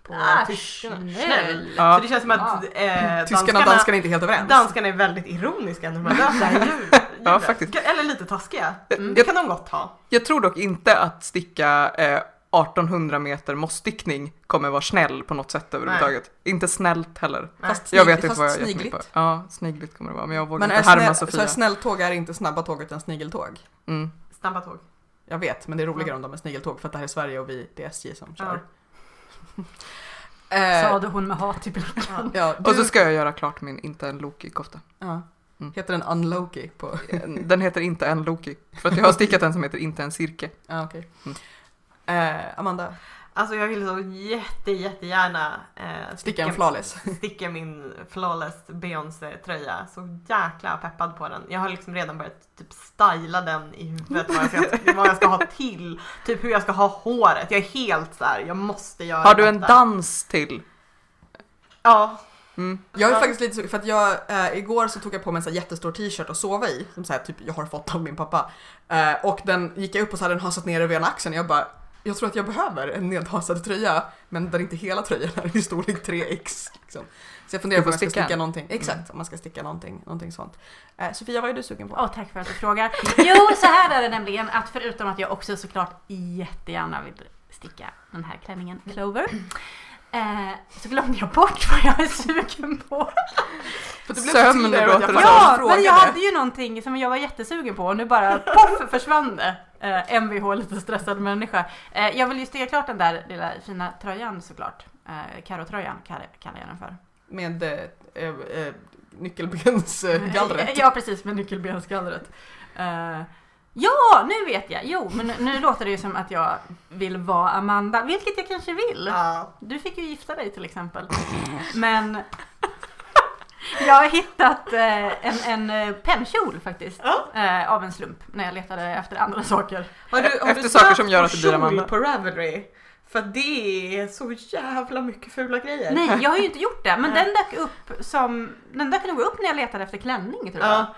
S2: på
S3: Ah,
S2: tyskarna.
S3: snäll.
S4: Ja.
S2: Så det känns som att eh,
S1: Tyskarna och danskarna är inte helt överens.
S2: danskarna är väldigt ironiska när man löser ljud.
S4: Ja, faktiskt.
S2: Eller lite taskiga.
S4: Mm.
S2: Det kan de gott ha.
S4: Jag tror dock inte att sticka eh, 1800 meter mossstickning kommer vara snäll på något sätt överhuvudtaget. Inte snällt heller.
S1: Fast,
S4: Jag
S1: snig-
S4: vet inte
S1: fast
S4: vad jag är
S1: snigligt.
S4: jättemycket på. Ja, snigligt kommer det vara. Men jag vågar
S1: Men är
S4: inte härma
S1: snäll, så här,
S4: Sofia.
S1: snälltåg är inte snabba tåg utan snigeltåg.
S4: Mm.
S2: Snabba tåg.
S1: Jag vet, men det är roligare om de är snigeltåg för att det här är Sverige och vi, det är SJ som kör. Eh,
S3: Sade hon med hat i blicken.
S1: ja, du,
S4: Och så ska jag göra klart min inte en Loki-kofta.
S1: ja.
S4: Mm.
S1: Heter den Unloki på...
S4: Den heter inte en Loki. För att jag har stickat en som heter inte en cirke.
S1: Ja, okej.
S4: Mm.
S1: Eh, Amanda,
S2: Alltså jag vill så jätte, jättegärna eh,
S1: sticka en flawless.
S2: sticka min flawless Beyoncé-tröja. Så jäkla peppad på den. Jag har liksom redan börjat typ styla den i huvudet. Vad jag ska, vad jag ska ha till. Typ hur jag ska ha håret. Jag är helt så här. jag måste göra
S4: Har du en
S2: detta.
S4: dans till?
S2: Ja.
S4: Mm.
S1: Jag är
S2: Ja.
S1: faktiskt lite sugen, för att jag, eh, igår så tog jag på mig en så här jättestor t-shirt och sova i, som så här, typ jag har fått av min pappa. Eh, och den gick jag upp och så hade den hasat ner över ena axeln och jag bara, jag tror att jag behöver en nedhasad tröja, men där inte hela tröjan är i storlek 3x. Liksom. Så jag funderar
S4: Du
S1: på
S4: får
S1: om jag ska
S4: sticka
S1: sticka
S4: en.
S1: någonting, exakt, om man ska sticka någonting, någonting sånt. Eh, Sofia, vad är du sugen på?
S3: Åh, tack för att du frågar. Jo, så här är det nämligen att förutom att jag också såklart jättegärna vill sticka den här klänningen Clover. Eh, så glömde jag bort vad jag är sugen på.
S1: För det blev
S4: Sömn
S1: så till över att jag
S4: låter det
S1: faktiskt
S4: som.
S3: Ja,
S1: frågade.
S3: men jag hade ju någonting som jag var jättesugen på och nu bara poff försvann det. Eh, Mvh lite stressad människa. Eh, jag vill ju sticka klart den där lilla fina tröjan såklart. Eh, Karotröjan kallar kallar jag den för.
S1: Med eh, eh, eh, nyckelbensgallret.
S3: Ja, precis, med nyckelbensgallret. Eh, ja, nu vet jag! Jo, men nu, nu låter det ju som att jag vill vara Amanda, vilket jag kanske vill.
S2: ja.
S3: Du fick ju gifta dig till exempel. Men jag har hittat eh, en, en eh, pennkjol faktiskt.
S2: Ja.
S3: eh, Av en slump när jag letade efter andra saker.
S2: Har du, har
S4: Efter
S2: du
S4: saker
S2: sökt
S4: som gör
S2: på
S4: att det blir
S2: kjol
S4: Amanda?
S2: på Ravelry? För det är så jävla mycket fula grejer.
S3: Nej, jag har ju inte gjort det. Men
S2: Nej.
S3: den dök upp som, den dök nog upp när jag letade efter klänning tror jag.
S2: Ja.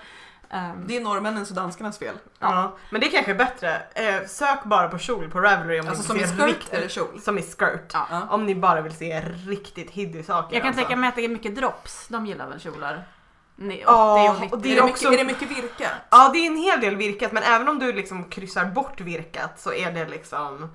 S3: Ehm,
S1: Det är norrmännens och danskarnas fel.
S2: Ja. Men det är kanske är bättre. Eh, sök bara på kjol på Ravelry om
S1: Alltså
S2: ni
S1: som i
S2: vill se
S1: skirt
S2: rikt-
S1: eller kjol.
S2: Som i skirt.
S1: Ja.
S2: Om ni bara vill se riktigt hiddy saker.
S3: jag kan
S2: alltså.
S3: tänka mig att det är mycket drops. De gillar väl kjolar? Nej, 80
S2: Ja,
S3: och 90.
S2: och
S1: Är
S2: är
S1: det,
S2: också-
S1: mycket, är det mycket virke?
S2: Ja det är en hel del virkat men även om du liksom kryssar bort virkat så är det liksom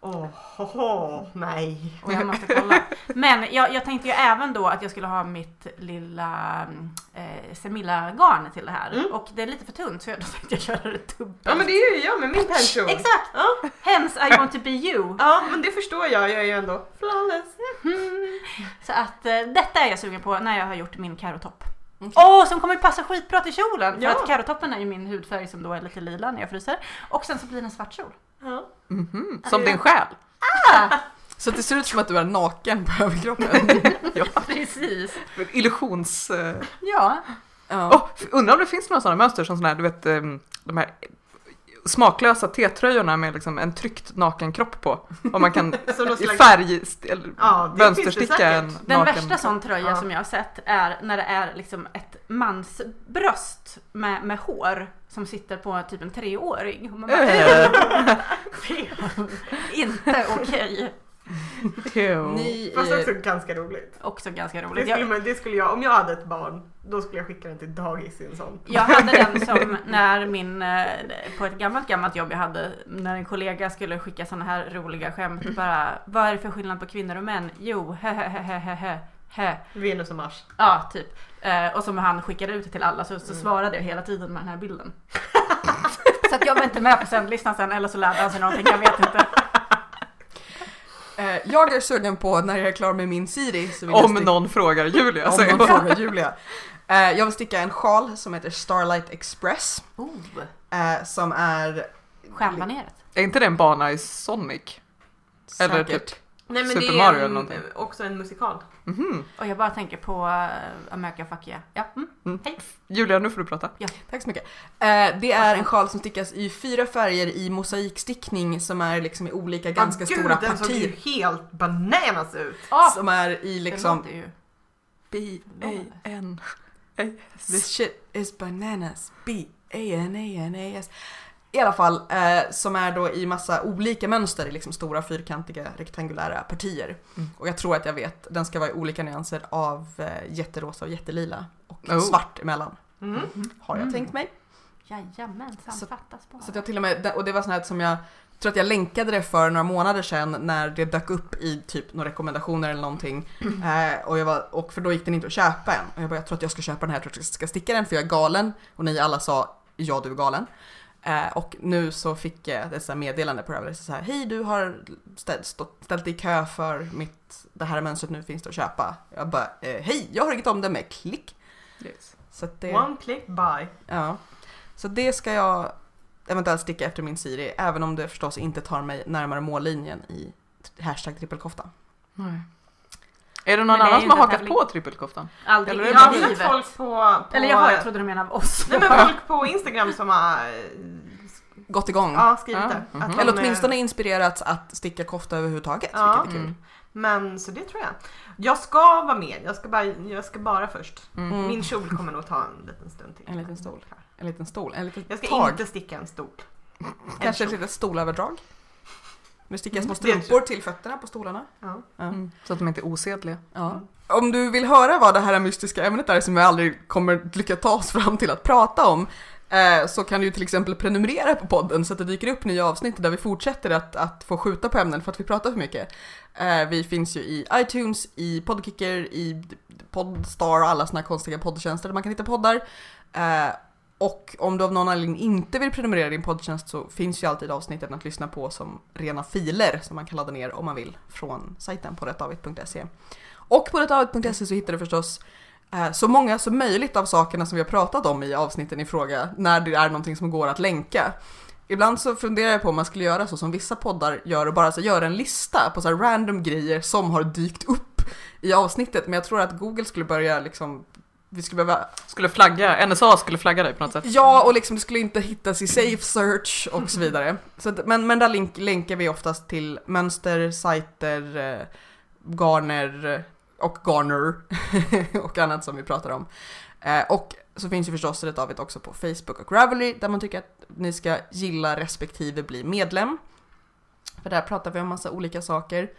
S2: Åh, hoho, nej.
S3: Och jag måste kolla. Men jag, jag tänkte ju även då att jag skulle ha mitt lilla mm, eh, Semilla-garn till det här.
S2: Mm.
S3: Och det är lite för tunt så jag då tänkte jag köra det dubbelt.
S2: Ja men det är ju jag med min pension.
S3: Exakt!
S2: Ja.
S3: Hence I want to be you.
S2: Ja men det förstår jag, jag är ju ändå flawless.
S3: Mm. Så att eh, detta är jag sugen på när jag har gjort min karotopp.
S1: Okej.
S3: Åh, som kommer passa skitbra till kjolen!
S2: Ja.
S3: För att karotoppen är ju min hudfärg som då är lite lila när jag fryser. Och sen så blir det en svart kjol.
S2: Ja.
S4: Mhm, Som din själ.
S1: Så det ser ut som att du är naken på överkroppen.
S3: Precis!
S4: Illusions... eh,
S3: Ja.
S1: ja.
S4: Åh, undrar om det finns några sådana mönster som sådana här, du vet, ehm, de här smaklösa T-tröjorna med liksom en tryckt nakenkropp på. Om man kan
S2: Så någon
S4: i
S2: slags-
S4: färg st- eller
S2: Ja, det finns det
S4: mönstersticka en
S2: säkert.
S4: naken.
S3: Den värsta sån tröja
S2: Ja.
S3: som jag har sett är när det är liksom ett mans bröst med, med hår som sitter på typ en treåring. Och man bara,
S4: Eh,
S3: "Fel." Inte okej.
S4: ew.
S1: Ni
S2: Fast också
S1: i,
S2: ganska roligt.
S3: Också ganska
S2: Det
S3: roligt.
S2: skulle,
S3: Jag,
S2: man, det skulle jag, om jag hade ett barn, då skulle jag skicka den till dagis i en sån.
S3: jag hade den som när min, eh, på ett gammalt gammalt jobb jag hade, när en kollega skulle skicka såna här roliga skämt bara, vad är det för skillnad på kvinnor och män? Jo, hehehehehe.
S2: Venus och Mars.
S3: Ja, typ. Eh, och som han skickade ut till alla så, så svarade jag hela tiden med den här bilden. så att jag var inte med på sändlistan sen eller så lärde han sig någonting, jag vet inte.
S1: eh, jag är sugen på när jag är klar med min Siri så vill jag
S4: Om
S1: sticka,
S4: någon frågar Julia.
S1: om
S4: säger
S1: någon
S4: jag.
S1: frågar Julia. Eh, jag vill sticka en sjal som heter Starlight Express.
S3: Oh.
S1: Eh, som är
S3: Stjärnbaneret.
S4: Är inte det en bana i Sonic? Eller
S1: säkert
S4: typ-
S2: Nej
S4: men det Super är Mario en- eller någonting.
S2: en, också en musikal.
S4: Mhm.
S3: Och jag bara tänker på uh, America Fuck Yeah. Ja, mm.
S4: Julia, nu får du prata.
S1: Tack så mycket. Eh, det är en sjal som stickas i fyra färger i mosaikstickning som är liksom i olika ganska
S2: gud,
S1: stora
S2: den såg ju
S1: partier.
S2: helt bananas ut.
S3: Ah,
S1: Som är i
S3: Det
S1: liksom...
S3: låter ju.
S4: B-A-N.
S1: This shit is bananas. B-A-N-A-N-A-S. I alla fall, eh, som är då i massa olika mönster i liksom stora fyrkantiga rektangulära partier.
S4: Mm.
S1: Och jag tror att jag vet, den ska vara i olika nyanser av eh, jätterosa och jättelila. Och
S4: Oh.
S1: svart emellan,
S2: Mm.
S1: har jag
S4: Mm.
S1: tänkt mig.
S3: Jajamän,
S1: Så-
S3: samfattas bara.
S1: Så att jag till och med, och det var sånt här som jag tror att jag länkade det för några månader sedan när det dök upp i typ några rekommendationer eller någonting. Eh, och jag var, och för då gick den inte att köpa än. Och jag bara, jag tror att jag ska köpa den här, jag tror att jag ska sticka den för jag är galen. Och ni alla sa, ja du är galen. Eh, och nu så fick jag ett sånt här meddelande på Ravelry så här, hej du har ställt, stått, ställt dig i kö för mitt, det här mönstret nu finns det att köpa. Jag bara, eh, hej jag har inget om det med klick. Så att det...
S2: One click buy.
S1: Ja. Så det ska jag eventuellt sticka efter min Siri, även om det förstås inte tar mig närmare mållinjen i t- hashtag trippelkofta.
S4: Nej. Är det
S3: Men
S4: någon
S3: det är
S4: annan
S3: ju
S4: som
S3: inte
S4: har
S3: en
S4: hakat
S3: tävling.
S4: på trippelkoftan?
S3: Aldrig
S4: Eller
S3: i
S4: är
S2: Jag
S4: det
S2: har
S4: bara
S2: sett
S3: livet.
S2: folk på, på...
S3: Eller jaha, jag trodde du menade oss.
S2: Nej men folk på Instagram som har eh,
S1: Gått igång.
S2: ja, skrivit
S4: Ja,
S2: det.
S4: mhm.
S2: Att de,
S1: Eller
S2: eh,
S1: åtminstone inspirerats att sticka kofta överhuvudtaget,
S2: Ja.
S1: vilket är kul.
S4: Mm.
S2: Men så det tror jag. Jag ska vara med, jag ska bara, jag ska bara först.
S4: Mm.
S1: Mm.
S2: Min kjol kommer nog ta en liten stund till.
S1: En liten stol. En liten stol, en liten
S2: Jag ska
S1: tag.
S2: inte sticka en stol. En
S1: Kanske ett
S2: kjol.
S1: litet stolöverdrag. Nu stickar jag små
S2: Mm, det är
S1: strumpor till fötterna på stolarna.
S2: Ja.
S4: Mm. Så att de inte är osedliga.
S1: Ja. Om du vill höra vad det här mystiska ämnet är som vi aldrig kommer lyckas ta oss fram till att prata om eh, så kan du ju till exempel prenumerera på podden så att det dyker upp nya avsnitt där vi fortsätter att, att få skjuta på ämnen för att vi pratar för mycket. Eh, vi finns ju i iTunes, i Podkicker, i Podstar och alla såna här konstiga poddtjänster där man kan hitta poddar. Eh, och om du av någon anledning inte vill prenumerera din poddtjänst så finns ju alltid avsnitten att lyssna på som rena filer som man kan ladda ner om man vill från sajten på rättavigt.se. Och på rättavigt.se E så hittar du förstås eh, så många som möjligt av sakerna som vi har pratat om i avsnitten i fråga när det är någonting som går att länka. Ibland så funderar jag på om man skulle göra så som vissa poddar gör och bara så göra en lista på så här random grejer som har dykt upp i avsnittet. Men jag tror att Google skulle börja liksom, vi skulle behöva
S4: Skulle flagga, NSA skulle flagga dig på något sätt.
S1: Ja, och liksom det skulle inte hittas i safe search och så vidare. Så att, men, men där link, länkar vi oftast till mönster, sajter, eh, garner och garner och annat som vi pratar om. Eh, och så finns ju förstås Rätt David också på Facebook och Ravelry där man tycker att ni ska gilla respektive bli medlem. För där pratar vi om massa olika saker.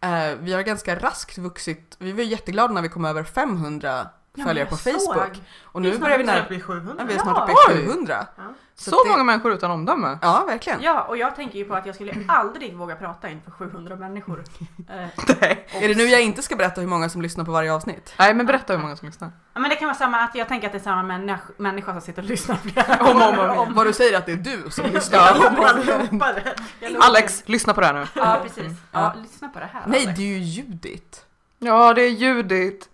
S1: Eh, vi har ganska raskt vuxit, vi var ju jätteglada när vi kom över 500
S3: Ja,
S1: följare
S3: men
S1: på
S3: jag
S1: Facebook.
S3: såg.
S1: Och nu börjar vi
S2: snart
S1: när,
S2: bli 700.
S1: vi är
S3: Ja.
S1: snart uppe i
S4: Oj!
S1: 700.
S2: Ja.
S4: Så,
S1: att det-
S4: många människor utan omdöme.
S1: Ja, verkligen.
S3: Ja, och jag tänker ju på att jag skulle aldrig våga prata inför 700 människor. Eh,
S4: Nej.
S1: Är det nu jag inte ska berätta hur många som lyssnar på varje avsnitt?
S4: Nej men berätta hur många som lyssnar.
S3: Ja men det kan vara samma, att jag tänker att det är samma människa, människa som sitter och lyssnar flera
S4: Om och om
S3: gånger
S4: igen.
S1: Vad du säger att det är du som
S2: Jag
S1: lyssnar?
S2: lovar, jag lovar det.
S3: Jag lovar.
S4: Alex, lyssna på det här nu.
S3: Ja precis. Ja,
S1: Ja.
S3: lyssna på det här
S1: Nej,
S3: Alex.
S1: det är ju Judith.
S4: Ja det är Judith.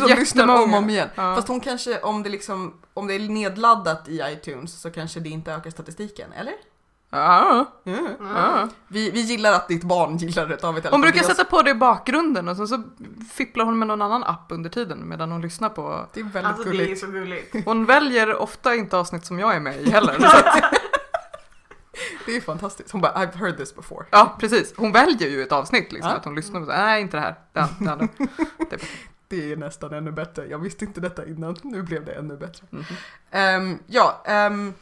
S1: Som lyssnar om och om igen.
S4: Ja.
S1: Fast hon kanske, om det, liksom, om det är nedladdat i iTunes så kanske det inte ökar statistiken, eller?
S4: Ja, ja.
S1: Vi, vi gillar att ditt barn gillar det av ett
S4: Hon brukar sätta på det i bakgrunden och sen så fipplar hon med någon annan app under tiden medan hon lyssnar på.
S1: Det är väldigt
S2: Alltså det är
S1: gulligt.
S2: så gulligt.
S4: Hon väljer ofta inte avsnitt som jag är med i heller. Så att,
S1: Det är fantastiskt. Hon bara I've heard this before.
S4: ja precis, hon väljer ju ett avsnitt liksom.
S1: Ja.
S4: Att hon lyssnar på så här, nej inte det här, det, här, det andra.
S1: Det är nästan ännu bättre. Jag visste inte detta innan. Nu blev det ännu bättre.
S4: Mhm.
S1: Ehm, ja, ehm,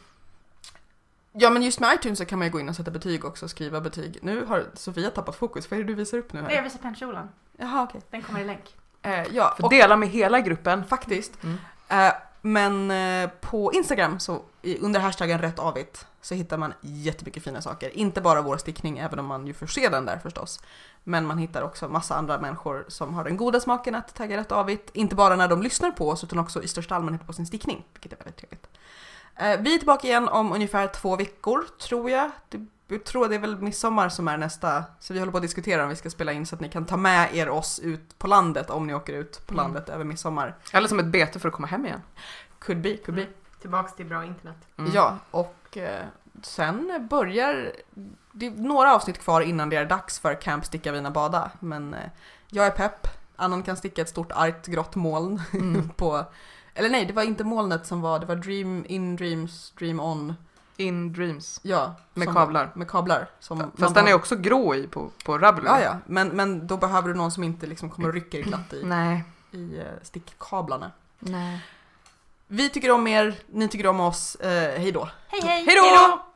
S1: ja, men just med iTunes så kan man ju gå in och sätta betyg också och skriva betyg. Nu har Sofia tappat fokus. Vad är det du visar upp nu
S3: Nej, jag
S1: här?
S3: visar pennkjolan.
S1: Jaha, okej.
S3: Den kommer i länk.
S1: Eh, ja,
S4: För dela med hela gruppen.
S1: Faktiskt.
S4: Mm.
S1: Eh, men eh, på Instagram så i- under hashtaggen rätt avigt så hittar man jättemycket fina saker. Inte bara vår stickning, även om man ju får se den där förstås. Men man hittar också massa andra människor som har den goda smaken att tagga rätt avigt. Inte bara när de lyssnar på oss utan också i största allmänhet på sin stickning, vilket är väldigt trevligt. Eh, vi är tillbaka igen om ungefär två veckor, tror jag. Det, jag tror det är väl midsommar som är nästa, så vi håller på att diskutera om vi ska spela in så att ni kan ta med er oss ut på landet om ni åker ut på
S4: Mm.
S1: landet över midsommar.
S4: Eller som ett bete för att komma hem igen.
S1: Could be, could be.
S2: Tillbaks till bra internet.
S4: Mm.
S1: Ja, och eh, sen börjar... Det är några avsnitt kvar innan det är dags för Camp Sticka Vina Bada. Men eh, jag är pepp. Annan kan sticka ett stort argt grått moln
S4: Mm.
S1: på... Eller nej, det var inte molnet som var, det var Dream In Dreams, Dream On.
S4: In dreams.
S1: Ja.
S4: Med
S1: som-
S4: kablar.
S1: Med kablar. Som Mm, man
S4: Fast den
S1: har-
S4: är också grå i på, på Ravelry.
S1: Ja, ja. Men, men då behöver du någon som inte liksom kommer och rycker glatt i,
S4: Nej.
S1: i eh, stickkablarna.
S4: Nej.
S1: Vi tycker om er, ni tycker om oss. Eh, hej då!
S3: Hej hej!
S4: Hej då!